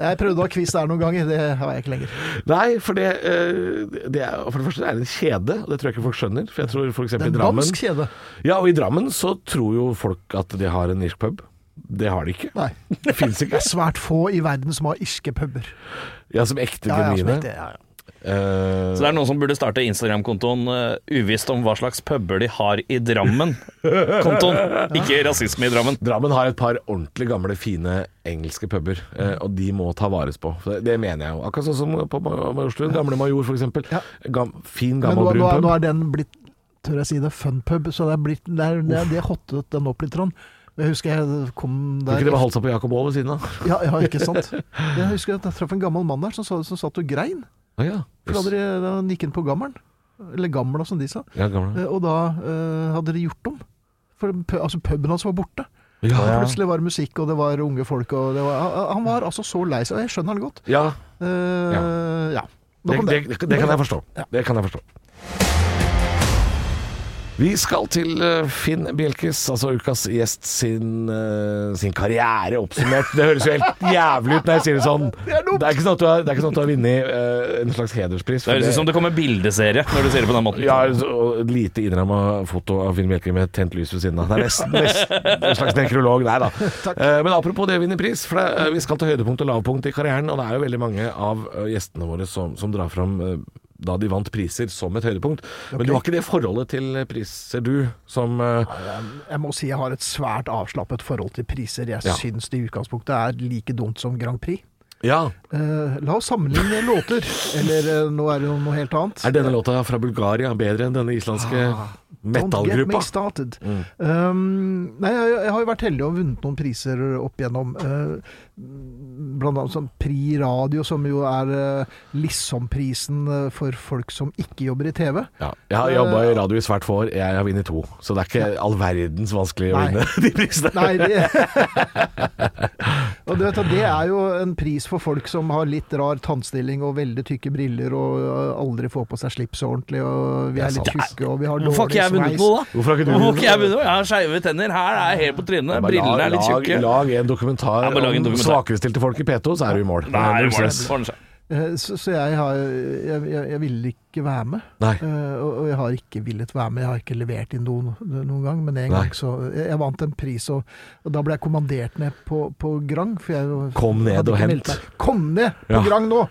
S5: Jeg prøvde å ha quiz der noen ganger, det har jeg ikke lenger.
S2: Nei, for det, eh, det er, for det første er det en kjede, og det tror jeg ikke folk skjønner. For jeg tror for
S5: Det
S2: eksempel
S5: er
S2: i
S5: en
S2: Drammen
S5: dansk kjede.
S2: Ja, og i Drammen så tror jo folk at de har en irsk pub. Det har de ikke.
S5: Nei.
S2: Det fins
S5: Det
S2: ikke.
S5: er svært få i verden som har irske puber.
S2: Ja, som ekte
S5: Ja, ja, som
S2: genuine.
S5: ikke- ja, ja.
S2: Eh,
S4: Så det er noen som burde starte Instagram-kontoen eh, uvisst om hva slags puber de har i Drammen. Kontoen, ikke rasisme i Drammen.
S2: Drammen har et par ordentlig gamle, fine engelske puber, eh,
S4: Mm.
S2: og de må ta vares på. For Det, det mener jeg jo. Akkurat sånn som på Ma- Majorstuen. Gamle Major, for eksempel.
S5: Ja.
S2: Gam, fin,
S5: Men
S2: gammel,
S5: nå,
S2: brun
S5: nå, er-
S2: pub.
S5: nå er den blitt, tør jeg si det, funpub, så det er blitt, det er, det er, det hottet den opp litt. Trond. Jeg husker jeg kom
S2: Tror
S5: der
S2: ikke det var halsa på Jakob Aall ved siden av.
S5: ja, ja, ikke sant. Jeg husker at jeg traff en gammel mann der som, sa- som satt og grein.
S2: Å ja.
S5: For da hadde de- da nikket han på gammelen. Eller gamla, som de sa.
S2: Ja, gamle.
S5: Eh, Og da eh, hadde de gjort om. For pu- altså, puben hans var borte.
S2: Ja, ja.
S5: Plutselig var det musikk, og det var unge folk. Og det var, han- han var altså så lei seg, og jeg skjønner han godt.
S2: ja.
S5: Eh, ja. Nå
S2: Det,
S5: kom
S2: det, det, det kan jeg forstå.
S5: Ja.
S2: Det kan jeg forstå. Vi skal til eh, Finn Bjelkes, altså ukas gjest sin, eh, sin karriere oppsummert. Det høres jo helt jævlig ut når jeg sier det sånn. Det
S5: er dumt.
S2: er ikke sånn at du har, det er ikke sånn at du har vunnet eh, en slags hederspris. for
S4: Det høres ut som det kommer bildeserie når du sier det på den måten.
S2: ja, og et lite innramma foto av Finn Bjelke med tent lys ved siden av. Det er nesten, nesten en slags nekrolog der, da. Eh, Men apropos det å vinne pris, for det, eh, vi skal til høydepunkt og lavpunkt i karrieren. Og det er jo veldig mange av eh, gjestene våre som, som drar fram eh, da de vant priser som et høydepunkt. Men du har ikke det forholdet til eh, priser, du, som eh,
S5: Jeg må si jeg har et svært avslappet forhold til priser. Jeg
S2: Ja.
S5: syns det i utgangspunktet er like dumt som Grand Prix.
S2: Ja.
S5: Eh, la oss sammenligne låter. Eller eh, nå er det jo noe helt annet.
S2: Er denne låta fra Bulgaria bedre enn denne islandske
S5: Don't get me
S2: metallgruppa?
S5: started.
S2: Mm.
S5: Um, nei, jeg, jeg har jo vært heldig og vunnet noen priser opp igjennom. eh, blant annet sånn Pri Radio, som jo er uh, Lissom-prisen eh, for folk som ikke jobber i TV.
S2: Ja, jeg har jobba i radio i svært få år, jeg har vunnet to. Så det er ikke all verdens vanskelig å
S5: Nei.
S2: vinne de prisene.
S5: Nei, det Og du vet at det er jo en pris for folk som har litt rar tannstilling og veldig tykke briller og øh, aldri får på seg slips ordentlig, og vi
S2: Det er
S5: er litt
S2: sant.
S5: tjukke og vi har
S4: Hvorfor har
S5: dårlig
S4: ikke jeg vunnet
S5: sveis.
S4: noe, da?
S2: Hvorfor har ikke du
S4: Hvorfor har
S2: vunnet?
S4: ikke jeg vunnet noe? Jeg har skeive tenner. Her er jeg helt på
S2: Nei,
S4: trynet.
S2: men
S4: Brillene er litt
S2: lag,
S4: tjukke.
S2: Lag en dokumentar
S4: Ja, men lag en
S2: om
S4: dokumentar.
S2: svakestilte folk i P2, så er du i mål.
S4: Nei,
S2: Det er
S4: det
S2: null
S4: ordner
S2: stress.
S4: seg. Ordner seg.
S5: Eh, Så, så jeg, har, jeg, jeg, jeg ville ikke være med.
S2: Nei.
S5: Eh, og, og jeg har ikke villet være med. Jeg har ikke levert inn noen, noen gang, men en
S2: Nei.
S5: gang så Jeg, jeg vant en pris, og, og da ble jeg kommandert ned på, på Grang. For jeg jo-
S2: Kom ned
S5: hadde
S2: og
S5: ikke
S2: hent.
S5: meldt meg. Kom ned på
S2: Ja.
S5: Grang nå!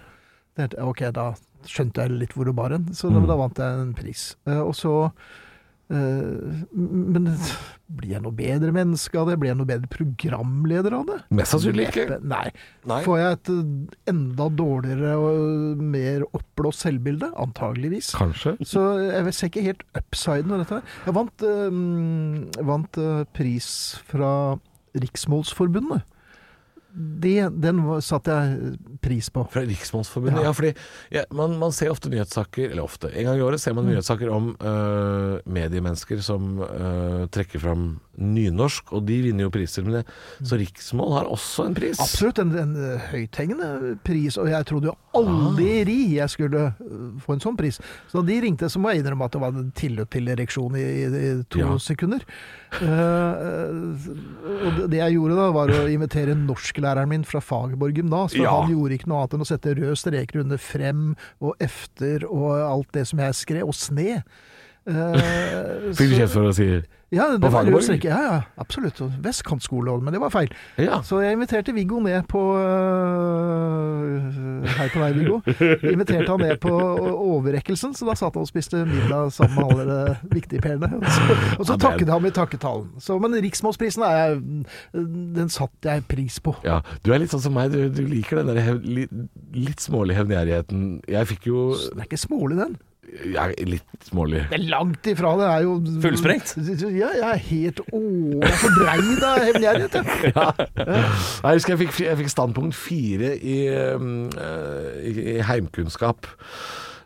S5: Det heter- ok, da skjønte jeg litt hvor det bar hen, så
S2: Mm.
S5: da, da vant jeg en pris. Eh, og så eh, m- Men blir jeg noe bedre menneske av det? Blir jeg noe bedre programleder av det?
S2: Mest sannsynlig ikke.
S5: Neppe. Nei.
S2: Altså, Nei.
S5: Får jeg et eh, enda dårligere og eh, mer oppblåst selvbilde? Antageligvis.
S2: Kanskje.
S5: Så jeg ser ikke helt upsiden av dette. her. Jeg vant, eh, mm, vant eh, pris fra Riksmålsforbundet. Det, den var- satte jeg pris på.
S2: Fra Riksmannsforbundet, ja. fordi ja, man, man ser ofte nyhetssaker, eller ofte, en gang i året ser
S5: Mm.
S2: man nyhetssaker om øh, mediemennesker som øh, trekker fram nynorsk, og de vinner jo priser med det. Så Riksmål har også en pris.
S5: Mm. Absolutt en, en eh, høythengende pris, og jeg trodde jo
S2: Ah.
S5: aldri jeg skulle eh, få en sånn pris. Så da de ringte, så må jeg innrømme at det var en tilløp til ereksjon i, i, i to
S2: Ja.
S5: sekunder. Eh, eh, og det- det jeg gjorde da, var å invitere norsklæreren min fra Fagerborg gymnas, for
S2: Ja.
S5: han gjorde ikke noe annet enn å sette røde streker under frem og efter og alt det som jeg skrev, og sne. Uh,
S2: Fikk du kjeft for å si
S5: Ja, det var
S2: Fagerborg?
S5: rød streke. Ja, ja, absolutt. Og Vestkantskole, men det var feil.
S2: Ja.
S5: Så jeg inviterte Viggo ned på øh, Hei på deg, Viggo. Inviterte han ned på overrekkelsen, så da satt han og spiste middag sammen med alle de viktige perene. Og så, og så
S2: Ja, det-
S5: takket han i takketalen. Så, men Riksmålsprisen er jeg, den satte jeg pris på.
S2: Ja, Du er litt sånn som meg, du, du liker den der hev, li, litt smålige hevngjerrigheten. Jeg fikk jo
S5: Den er ikke smålig, den.
S2: jeg er Litt smålig.
S5: Det er langt ifra. Det er jo
S4: Fullsprengt?
S5: Ja, jeg er helt overfordreid av hevngjerrighet. jeg.
S2: Nei, Jeg husker jeg fikk, jeg fikk standpunkt fire i, um, eh, i, i heimkunnskap.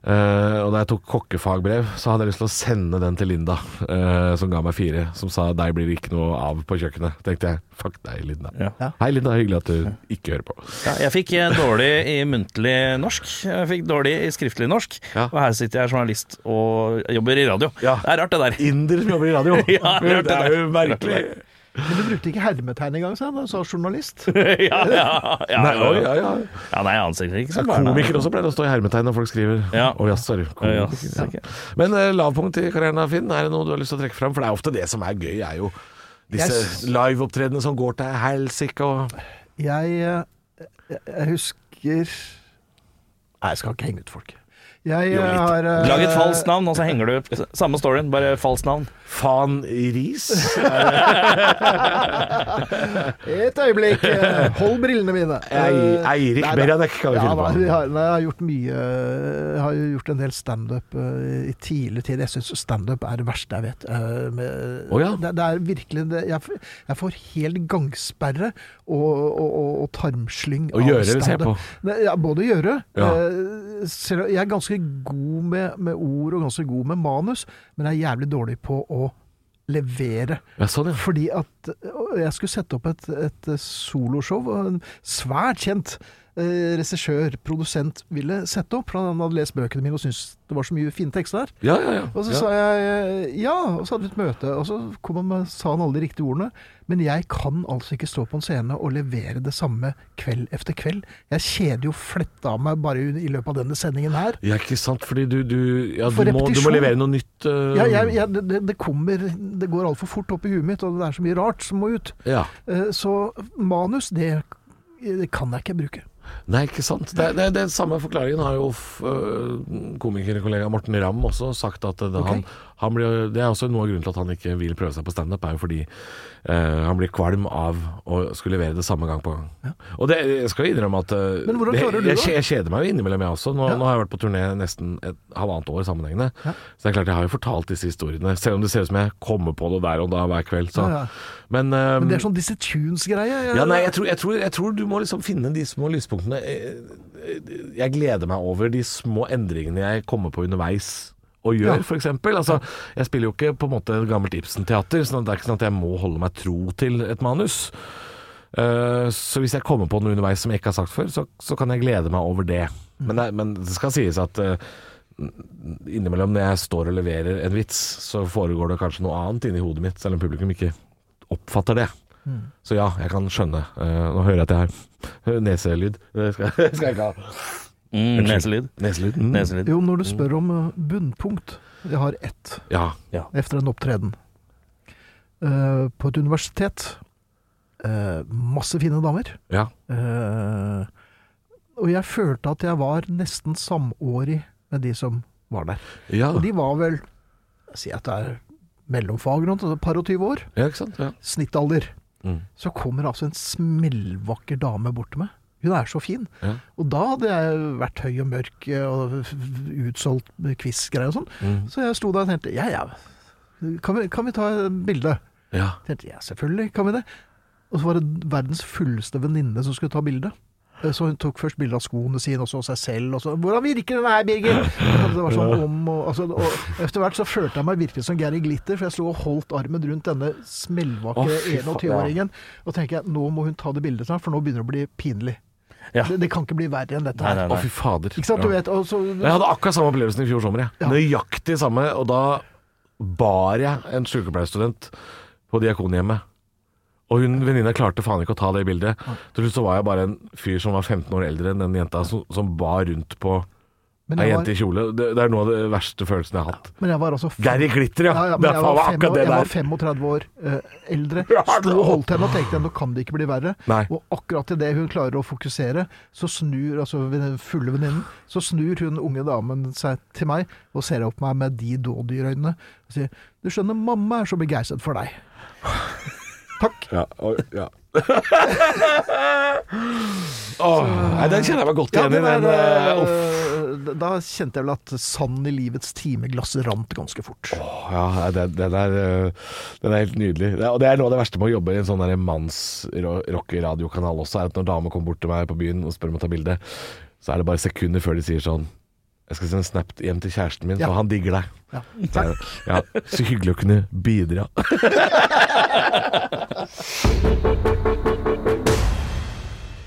S2: Eh, og da jeg tok kokkefagbrev, så hadde jeg lyst til å sende den til Linda, eh, som ga meg fire. Som sa 'deg blir det ikke noe av på kjøkkenet'. tenkte jeg. Fuck deg, Linda.
S4: Ja.
S5: Ja.
S2: Hei, Linda. Hyggelig at du ikke hører på.
S4: Ja, jeg fikk eh, dårlig i muntlig norsk. Jeg fikk dårlig i skriftlig norsk.
S2: Ja.
S4: Og her sitter jeg som journalist og jobber i radio.
S2: Ja.
S4: Det er rart, det der.
S2: Inder som jobber i radio.
S4: Ja, jeg hørte
S2: det er jo
S4: det.
S2: merkelig.
S5: Men du brukte ikke hermetegn engang, sa han. Du sa journalist.
S4: ja, ja, ja,
S2: Nei,
S4: ja,
S2: oi,
S4: ja.
S2: ja, ja.
S4: ja, nei, jeg anser ikke som
S2: Komikere også pleier å stå i hermetegn når folk skriver.
S4: Ja.
S2: Å, ja, sorry.
S4: Ja, ja,
S2: Komiker, ja.
S4: sikkert.
S2: Men eh, lavpunkt i karrieren av Finn, er det noe du har lyst til å trekke fram? For det er ofte det som er gøy, er jo disse
S5: Jeg-
S2: liveopptredenene som går til helsike og
S5: Jeg, eh, jeg, jeg husker Nei, jeg skal ikke henge ut folk. Jeg
S2: Jo,
S5: eh,
S2: litt.
S5: har eh,
S4: Lag et falskt navn, og så henger du opp samme storyen, bare falskt navn.
S2: Faen Riis.
S5: Et øyeblikk. eh, Hold brillene mine.
S2: Ei-
S5: Eh,
S2: Eirik
S5: nei da.
S2: Beranek kan vi
S5: ja,
S2: finne
S5: da,
S2: på.
S5: vi har, nei, jeg har gjort mye Jeg har jo gjort en del standup eh, i tidlig tid. Jeg syns standup er det verste jeg vet. Eh, med-
S2: Å ja.
S5: det, det er virkelig det, jeg, f- jeg får helt gangsperre og, og, og, og tarmslyng
S2: Og gjøre eller se på?
S5: Nei, Ja, både gjøre.
S2: Ja.
S5: eh, selv, om- jeg er ganske god med, med ord og ganske god med manus, men jeg er jævlig dårlig på å levere.
S2: Ja, sånn, ja.
S5: Fordi at og jeg skulle sette opp et, et eh, soloshow, og en svært kjent eh, regissør, produsent, ville sette opp. for Han hadde lest bøkene mine og syntes det var så mye fine tekster der.
S2: Ja, ja, ja.
S5: Og så
S2: ja.
S5: sa jeg eh, ja, og så hadde vi et møte, og så kom han med, sa han alle de riktige ordene. Men jeg kan altså ikke stå på en scene og levere det samme kveld etter kveld. Jeg kjeder jo fletta av meg bare i i løpet av denne sendingen her.
S2: Ja, ikke sant, fordi du, du, ja, du, må,
S5: For
S2: du må
S5: repetisjon.
S2: levere noe nytt. eh,
S5: Ja, jeg, jeg, det, det kommer Det går altfor fort opp i huet mitt, og det er så mye rart som må ut.
S2: ja.
S5: Eh, Så manus, det, det kan jeg ikke bruke.
S2: Nei, ikke sant. Det, det, den samme forklaringen har jo f- øh, komikerkollega Morten Ramm også sagt. at det, han, han blir, det er også noe av grunnen til at han ikke vil prøve seg på standup, er jo fordi øh, han blir kvalm av å skulle levere det samme gang på gang. Og det, jeg skal innrømme at øh,
S5: Men hvordan
S2: det,
S5: klarer du
S2: jeg,
S5: det?
S2: kje- jeg kjeder meg jo innimellom, jeg også. Nå, nå har jeg vært på turné nesten et halvannet år sammenhengende. Så det er klart jeg har jo fortalt disse historiene, selv om det ser ut som jeg kommer på det der og da hver kveld. Så.
S5: Ja, ja.
S2: Men, øh,
S5: Men det er sånn Dizzie Tunes-greie. jeg-
S2: ja, nei, jeg tror, jeg, tror, jeg tror du må liksom finne de små lyspunktene. Eh, Jeg gleder meg over de små endringene jeg kommer på underveis og gjør,
S5: Ja.
S2: for f.eks. Altså, jeg spiller jo ikke på en måte gammelt Ibsen-teater, så det er ikke sånn at jeg må holde meg tro til et manus. Eh, så hvis jeg kommer på noe underveis som jeg ikke har sagt før, så, så kan jeg glede meg over det. Men det, er- men det skal sies at eh, innimellom når jeg står og leverer en vits, så foregår det kanskje noe annet inni hodet mitt, selv om publikum ikke oppfatter det. Så ja, jeg kan skjønne. Eh, nå hører jeg at jeg har neselyd. Det skal, skal jeg ikke ha.
S4: Mm, neselyd.
S2: Neselyd. Mm.
S4: Neselyd.
S5: Jo, når du spør om eh, bunnpunkt Jeg har ett
S2: Ja.
S5: etter en opptreden. Eh, på et universitet. Eh, masse fine damer.
S2: ja.
S5: Eh, og jeg følte at jeg var nesten samårig med de som var der.
S2: Ja.
S5: Og de var vel jeg sier at det er mellomfag, rundt, altså par og tyve år.
S2: ja, ikke sant? Ja.
S5: Snittalder.
S2: Mm.
S5: så kommer altså en smellvakker dame bort til meg. Hun er så fin.
S2: Ja.
S5: Og da hadde jeg vært høy og mørk eh, og f- f- utsolgt quiz-greier og sånn.
S2: Mm.
S5: Så jeg sto der og tenkte ja, ja, kan vi, kan vi ta et bilde?
S2: ja.
S5: tenkte ja, selvfølgelig kan vi det. Og så var det verdens fulleste venninne som skulle ta bilde. Eh, Så hun tok først bilde av skoene sine, og så seg selv. Og så 'Hvordan virker den her, Birger?' Altså, det var sånn om og, altså, og Etter hvert så følte jeg meg virkelig som Gary Glitter, for jeg sto og holdt armen rundt denne
S2: Å,
S5: smellvakre
S2: fy faen,
S5: 21-åringen. Og tenker jeg 'nå må hun ta det bildet snart, for nå begynner det å bli pinlig'.
S4: Ja.
S5: Det, det kan ikke bli verre enn dette
S4: Nei,
S5: her.
S2: Å,
S4: nei, nei.
S2: fy fader.
S5: Ikke sant, du vet, og så,
S2: Jeg hadde akkurat samme opplevelsen i fjor sommer. Jeg.
S5: Ja.
S2: Nøyaktig samme. Og da bar jeg en sykepleierstudent på Diakonhjemmet. Og hun venninna klarte faen ikke å ta det bildet. Til slutt så var jeg bare en fyr som var 15 år eldre enn den jenta som, som bar rundt på
S5: men,
S2: ei
S5: jeg
S2: jente
S5: var,
S2: i kjole. Det, det er noe av det verste følelsen jeg har hatt.
S5: men jeg var altså fem-
S2: Gary Glitter, ja!
S5: Ja, ja, men
S2: det
S5: jeg
S2: er faen
S5: var,
S2: meg
S5: fem,
S2: akkurat det
S5: jeg var
S2: der.
S5: 35 år eh, eldre.
S2: Ja, det-
S5: Sto og holdt henne og tenkte nå kan det ikke bli verre.
S2: Nei.
S5: Og akkurat idet hun klarer å fokusere, så snur altså den fulle venninnen, så snur hun unge damen seg til meg og ser opp på meg med de dådyrøynene og sier Du skjønner, mamma er så begeistret for deg. Takk.
S2: Ja, og, ja. Åh, nei, den kjenner jeg meg godt
S5: Ja,
S2: igjen
S5: det
S2: i. Den,
S5: der,
S2: eh, uff.
S5: eh, da kjente jeg vel at sand i livets timeglass rant ganske fort.
S2: Ja, nei, den, den, er, øh, den er helt nydelig. Det er, og det er noe av det verste med å jobbe i en sånn der manns-rock-radiokanal også, er at når damer kommer bort til meg på byen og spør om å ta bilde, så er det bare sekunder før de sier sånn Jeg skal sende en snap hjem til kjæresten min,
S5: Ja.
S2: for han digger deg.
S5: Ja.
S2: Så er det, Ja, så hyggelig å kunne bidra.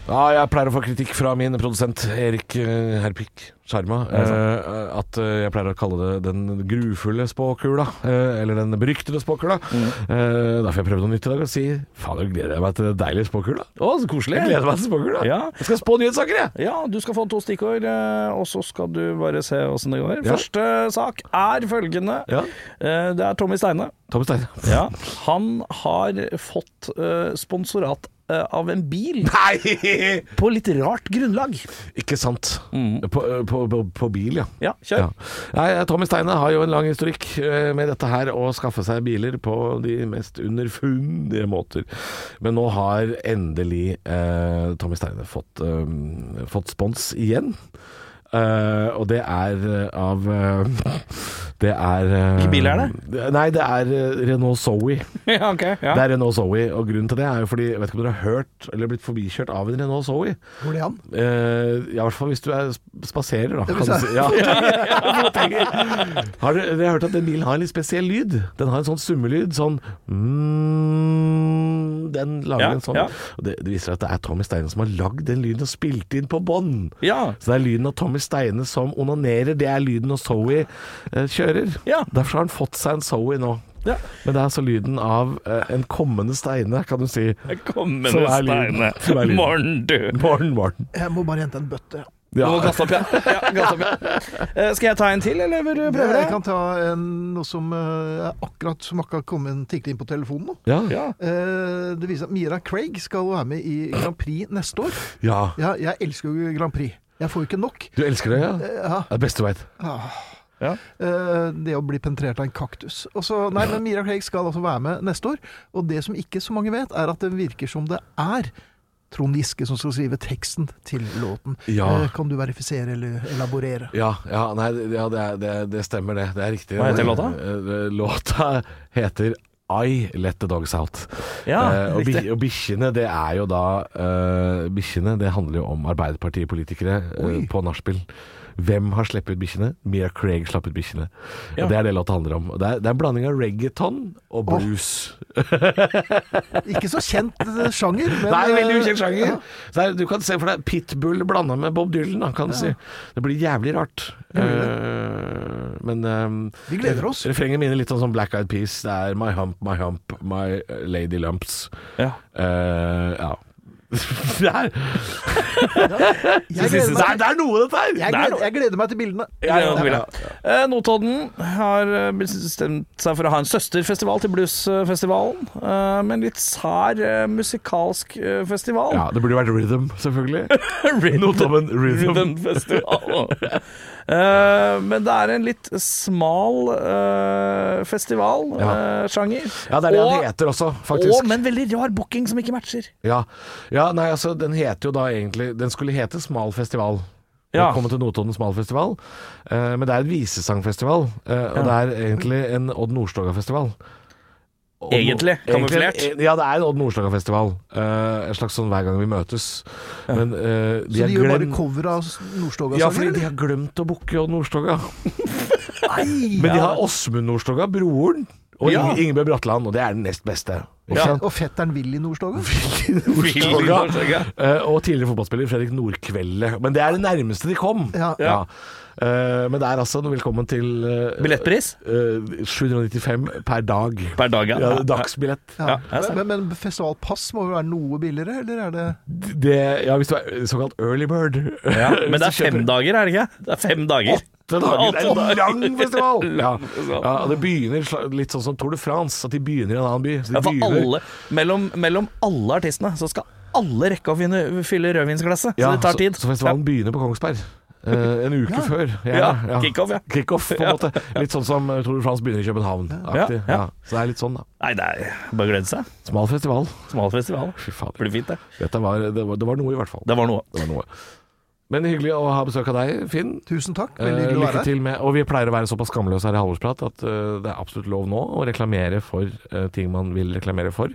S2: Ja, jeg pleier å få kritikk fra min produsent Erik eh, Herpik Sjarma. eh, at eh, jeg pleier å kalle det den grufulle spåkula. eh, eller den beryktede spåkula.
S4: Mm.
S2: Eh, derfor jeg prøvde noe nytt i dag og si faen, jeg gleder jeg meg til den deilige spåkula.
S4: Å, så koselig.
S2: Jeg gleder meg til spåkula.
S4: Ja.
S2: Jeg skal spå nyhetssaker, jeg!
S4: Ja, du skal få to stikkord, eh, og så skal du bare se åssen det går.
S2: Ja.
S4: Første sak er følgende.
S2: Ja.
S4: Eh, Det er Tommy Steine.
S2: Tommy Steine.
S4: Han har fått eh, sponsorat eh, av en bil
S2: Nei!
S4: på litt rart grunnlag.
S2: Ikke sant.
S4: Mm.
S2: På, på, på, på bil, ja.
S4: Ja,
S2: Ja.
S4: kjør.
S2: Nei, Tommy Steine har jo en lang historikk eh, med dette her, å skaffe seg biler på de mest underfundige måter. Men nå har endelig eh, Tommy Steine fått, eh, fått spons igjen. Eh, og det er eh, av eh, Det er eh,
S4: Hvilken bil er
S2: Nei, det er eh, Renault Zoe.
S4: Ja, ok.
S2: Det
S4: Ja.
S2: er Renault Zoe, og grunnen til det er jo fordi Jeg vet ikke om dere har hørt eller blitt forbikjørt av en Renault Zoe.
S5: Går det an?
S2: Eh, ja, I hvert fall hvis du er sp- spaserer, da. Kan du
S5: hvis
S2: si. ja. har dere, dere har hørt at den bilen har en litt spesiell lyd? Den har en sånn summelyd, sånn mm, Den lager
S4: Ja,
S2: en sånn
S4: ja.
S2: Og det, det viser at det er Tommy Steine som har lagd den lyden og spilt inn på bånd.
S4: ja.
S2: Så det er lyden av Tommy Steine som onanerer, det er lyden når Zoe eh, kjører.
S4: Ja.
S2: Derfor har han fått seg en Zoe nå.
S4: Ja.
S2: Men det er altså lyden av eh, en kommende steine, kan du si.
S4: Kommende
S2: Som er lyden.
S4: Steine.
S2: Som er lyden.
S4: Morn, du.
S2: Morgen, morgen.
S5: Jeg må bare hente en bøtte.
S4: Du må gasse opp, ja. ja, gass opp, ja. Eh, Skal jeg ta en til, eller vil du prøve
S5: Jeg
S4: det?
S5: kan ta en, noe som eh, er akkurat som akkurat kom inn, tikket inn på telefonen nå.
S2: Ja.
S4: Ja.
S5: Eh, det viser at Mira Craig skal være med i Grand Prix neste år.
S2: ja.
S5: Ja, jeg elsker jo Grand Prix. Jeg får jo ikke nok.
S2: Du elsker det, ja?
S5: Eh,
S2: Det
S5: Ja,
S2: er det beste du veit.
S5: eh, det å bli penetrert av en kaktus. Og så- nei, men Mira Craig skal altså være med neste år. Og det som ikke så mange vet, er at det virker som det er Trond Giske som skal skrive teksten til låten.
S2: Ja.
S5: Eh, kan du verifisere eller elaborere?
S2: Ja, ja, nei, det- ja det, er- det, det stemmer det. Det er riktig.
S4: Hva heter låta?
S2: Eh, Låta heter I Let The Dogs Out.
S4: Ja,
S2: Eh, og bi-
S4: riktig.
S2: og bikkjene, det er jo da eh, Bikkjene, det handler jo om Arbeiderpartipolitikere eh, på nachspiel. Hvem har sluppet ut bikkjene? Mira Craig slapp ut bikkjene.
S4: Ja.
S2: Og Det er det låta handler om. Og Det er, det er en blanding av reggaeton og blues.
S5: Ikke så kjent eh, sjanger, men
S2: Nei, veldig ukjent
S5: eh,
S2: sjanger. Så det er- du kan se for deg Pitbull blanda med Bob Dylan, da, kan du si. Det blir jævlig rart. Eh, men eh,
S5: Vi gleder oss.
S2: Refrenget minner litt om sånn Black Eyed Peas. Det er My hump, my hump, my lady lumps.
S4: Ja.
S2: Eh, ja. det, er,
S5: Jeg gleder
S2: det, er,
S5: meg,
S2: det er noe, dette her!
S5: jeg gleder, jeg gleder meg til bildene.
S4: Ja, ja, ja. Eh, Notodden har eh, bestemt seg for å ha en søsterfestival til bluesfestivalen. eh, Med en litt sær eh, musikalsk eh, festival.
S2: Ja, det burde vært rhythm, selvfølgelig. Notodden Rhythm.
S4: Festival. Eh, men det er en litt smal eh, festival,
S2: Ja.
S4: eh, sjanger.
S2: Ja, det er det
S4: og,
S2: han heter også, faktisk.
S4: og med en veldig rar booking som ikke matcher.
S2: Ja. ja, nei, altså den heter jo da egentlig Den skulle hete Smal festival.
S4: Ja.
S2: Velkommen til Notodden Smal festival. Eh, men det er en visesangfestival, eh, og det er egentlig en Odd Nordstoga-festival. Odd-
S4: Egentlig, kamuflert.
S2: Egentlig, eh, Ja, det er en Odd Nordstoga-festival. Eh, en slags sånn hver gang vi møtes. Men eh, de,
S5: Så
S2: har
S5: de gjør bare
S2: glemt-
S5: cover av Nordstoga-sanger?
S2: Ja, fordi
S5: eller?
S2: de har glemt å booke Odd Nordstoga.
S5: Nei!
S2: Men de har Åsmund Nordstoga, broren, og
S4: Ja.
S2: Inge- Ingebjørg Bratland, og det er den nest beste. Ikke
S5: Ja.
S2: sant?
S5: Og fetteren Willy Nordstoga?
S2: Nordstoga,
S4: Nordstoga.
S2: eh, og tidligere fotballspiller Fredrik Nordkvelde. Men det er det nærmeste de kom.
S5: Ja.
S2: Ja. Eh, men det er altså velkommen til eh,
S4: Billettpris
S2: eh, 795 per dag.
S4: per dag,
S2: Ja,
S4: ja.
S2: dagsbillett.
S5: Ja.
S4: Ja, jeg ser.
S5: men, men festivalpass må jo være noe billigere, eller er det
S2: Det, ja, hvis du er eh, såkalt early bird.
S4: Ja, men
S2: Hvis
S4: det er
S2: du kjøper-
S4: fem dager, er det ikke? Det er fem dager.
S2: Åtte dager. Det
S4: Åtte
S2: er en lang
S4: dager.
S2: festival! Ja.
S4: Lang festival.
S2: Ja, og det begynner sla- litt sånn som Tour de France, at de begynner i en annen by. Så de
S4: Ja, for
S2: begynner-
S4: alle, mellom, mellom alle artistene så skal alle rekke å finne, fylle rødvinsglasset,
S2: Ja,
S4: så det tar tid.
S2: Så, så festivalen begynner på Kongsberg. eh, en uke før.
S4: Ja, ja. kickoff, ja.
S2: Kickoff, på en måte. Litt sånn som eh, Tour de France begynner i København. aktig.
S4: Ja, ja.
S2: Ja. Så det er litt sånn, da.
S4: Nei, det er bare å glede seg.
S2: Smal festival.
S4: Smal festival.
S2: Fy fader.
S4: Blir fint, det.
S2: Dette var, det, var, det var noe, i hvert fall.
S4: Det var noe.
S2: Det var noe. Men hyggelig å ha besøk av deg, Finn.
S5: Tusen takk,
S2: Eh,
S5: veldig hyggelig å
S2: lykke
S5: være her.
S2: til med Og vi pleier å være såpass skamløse her i Halvorsprat at eh, det er absolutt lov nå å reklamere for eh, ting man vil reklamere for.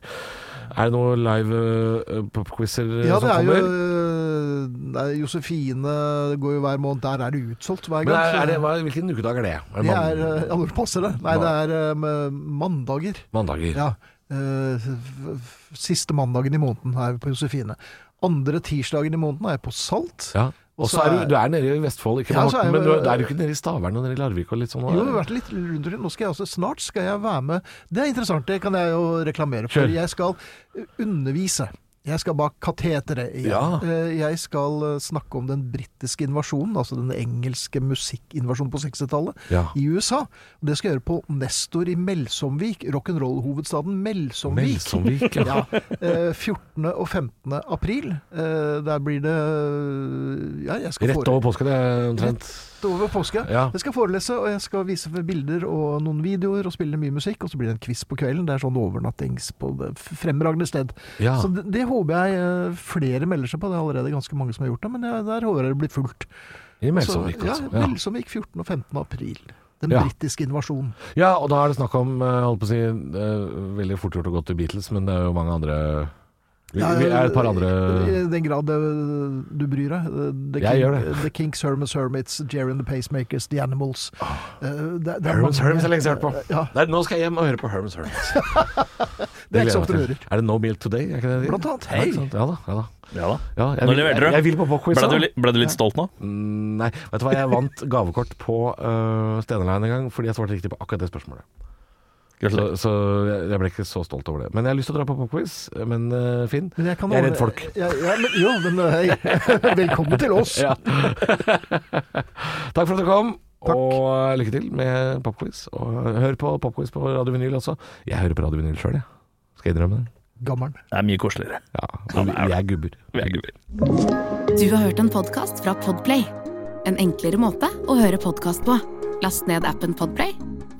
S2: Er det noen live eh, popquizer eh,
S5: Ja,
S2: som
S5: det er jo
S2: kommer?
S5: øh, det er Josefine det går jo hver måned. Der er det utsolgt hver
S2: Men
S5: gang.
S2: er,
S5: så-
S2: er det, hva, hvilken ukedag er det? Er det,
S5: det
S2: mand-
S5: er øh, Ja, når passer det? Nei, det er øh, med mandager.
S2: mandager?
S5: Ja. øh, f- f- Siste mandagen i måneden er vi på Josefine. Andre tirsdagen i måneden er jeg på Salt.
S2: Ja. Og så er du, du er nede i Vestfold, ikke på
S5: Ja, så er
S2: Horten, men
S5: jeg-
S2: du, er- da er du ikke nede i Stavern og nede i Larvik og litt sånn?
S5: Jo, det har vært litt rundt omkring. Nå skal jeg også, snart skal jeg være med Det er interessant, det kan jeg jo reklamere for.
S2: Kjør.
S5: Jeg skal eh, undervise. Jeg skal bak kateteret igjen.
S2: Ja.
S5: Eh, Jeg skal eh, snakke om den britiske invasjonen, altså den engelske musikkinvasjonen på 60-tallet
S2: Ja.
S5: i USA. Og Det skal jeg gjøre på Nestor i Melsomvik, rock'n'roll-hovedstaden Melsomvik.
S2: Melsomvik, ja.
S5: ja. Eh, 14. og 15. april. Eh, Der blir det Ja, jeg skal
S2: Rett
S5: fore-
S2: over påske, det er omtrent.
S5: rett over påske.
S2: Ja.
S5: Jeg skal forelese, og jeg skal vise bilder og noen videoer og spille mye musikk. Og så blir det en quiz på kvelden. Det er sånn overnattings på det f- fremragende sted.
S2: Ja.
S5: Så det, det håper jeg eh, flere melder seg på. Det er allerede ganske mange som har gjort det, men jeg, der håper jeg det blir fullt.
S2: I Melsomvik,
S5: så, ja,
S2: altså. Ja.
S5: Melsomvik 14. og 15. april. Den
S2: Ja.
S5: britiske invasjonen.
S2: ja, og da er det snakk om, eh, holdt på å si, eh, veldig fort gjort å gå til Beatles, men det er jo mange andre Vi, vi er et par andre
S5: I den grad eh, du bryr deg. eh, The,
S2: Jeg gjør det.
S5: The Kinks, Hermes Hermits, Jerry and the Pacemakers, The Animals.
S2: Ah.
S5: Eh, det- det er
S2: Hermes
S5: mange-
S2: Hermes har jeg lenge hørt på.
S5: Ja,
S2: Nei, nå skal jeg hjem og høre på Hermes Hermes.
S5: det er ikke så
S2: gleder
S5: ofte
S2: jeg
S5: du
S2: meg
S5: hører.
S2: til. Er det No Milk Today? Er ikke det
S5: Blant annet.
S2: Ja, ikke sant? Ja da. ja da.
S4: Ja da.
S2: Ja, jeg,
S4: Nå
S2: vil-
S4: leverte du.
S2: jeg, jeg vil på popquiz.
S4: Ble du,
S2: da.
S4: li- ble du litt stolt nå?
S2: Mm, Nei, vet du hva, jeg vant gavekort på uh, Stenerlein en gang fordi jeg svarte riktig på akkurat det spørsmålet. Så,
S4: Gratulerer.
S2: så jeg jeg ble ikke så stolt over det. Men jeg har lyst til å dra på popquiz. Men eh, Finn,
S5: Men jeg, kan
S2: Jeg er
S5: ordne-
S2: redd folk.
S5: Ja, ja, men, jo, men eh, velkommen til oss.
S2: Ja. takk for at du kom.
S5: Takk.
S2: Og eh, lykke til med popquiz. Og hør på popquiz på Radio Vinyl også. Jeg hører på Radio Vinyl sjøl, jeg. Skal jeg innrømme det?
S5: Gammelen.
S4: Det er mye koseligere.
S2: Ja. Vi, vi er gubber.
S4: Vi er gubber.
S1: Du har hørt en podkast fra Podplay. En enklere måte å høre podkast på. Last ned appen Podplay,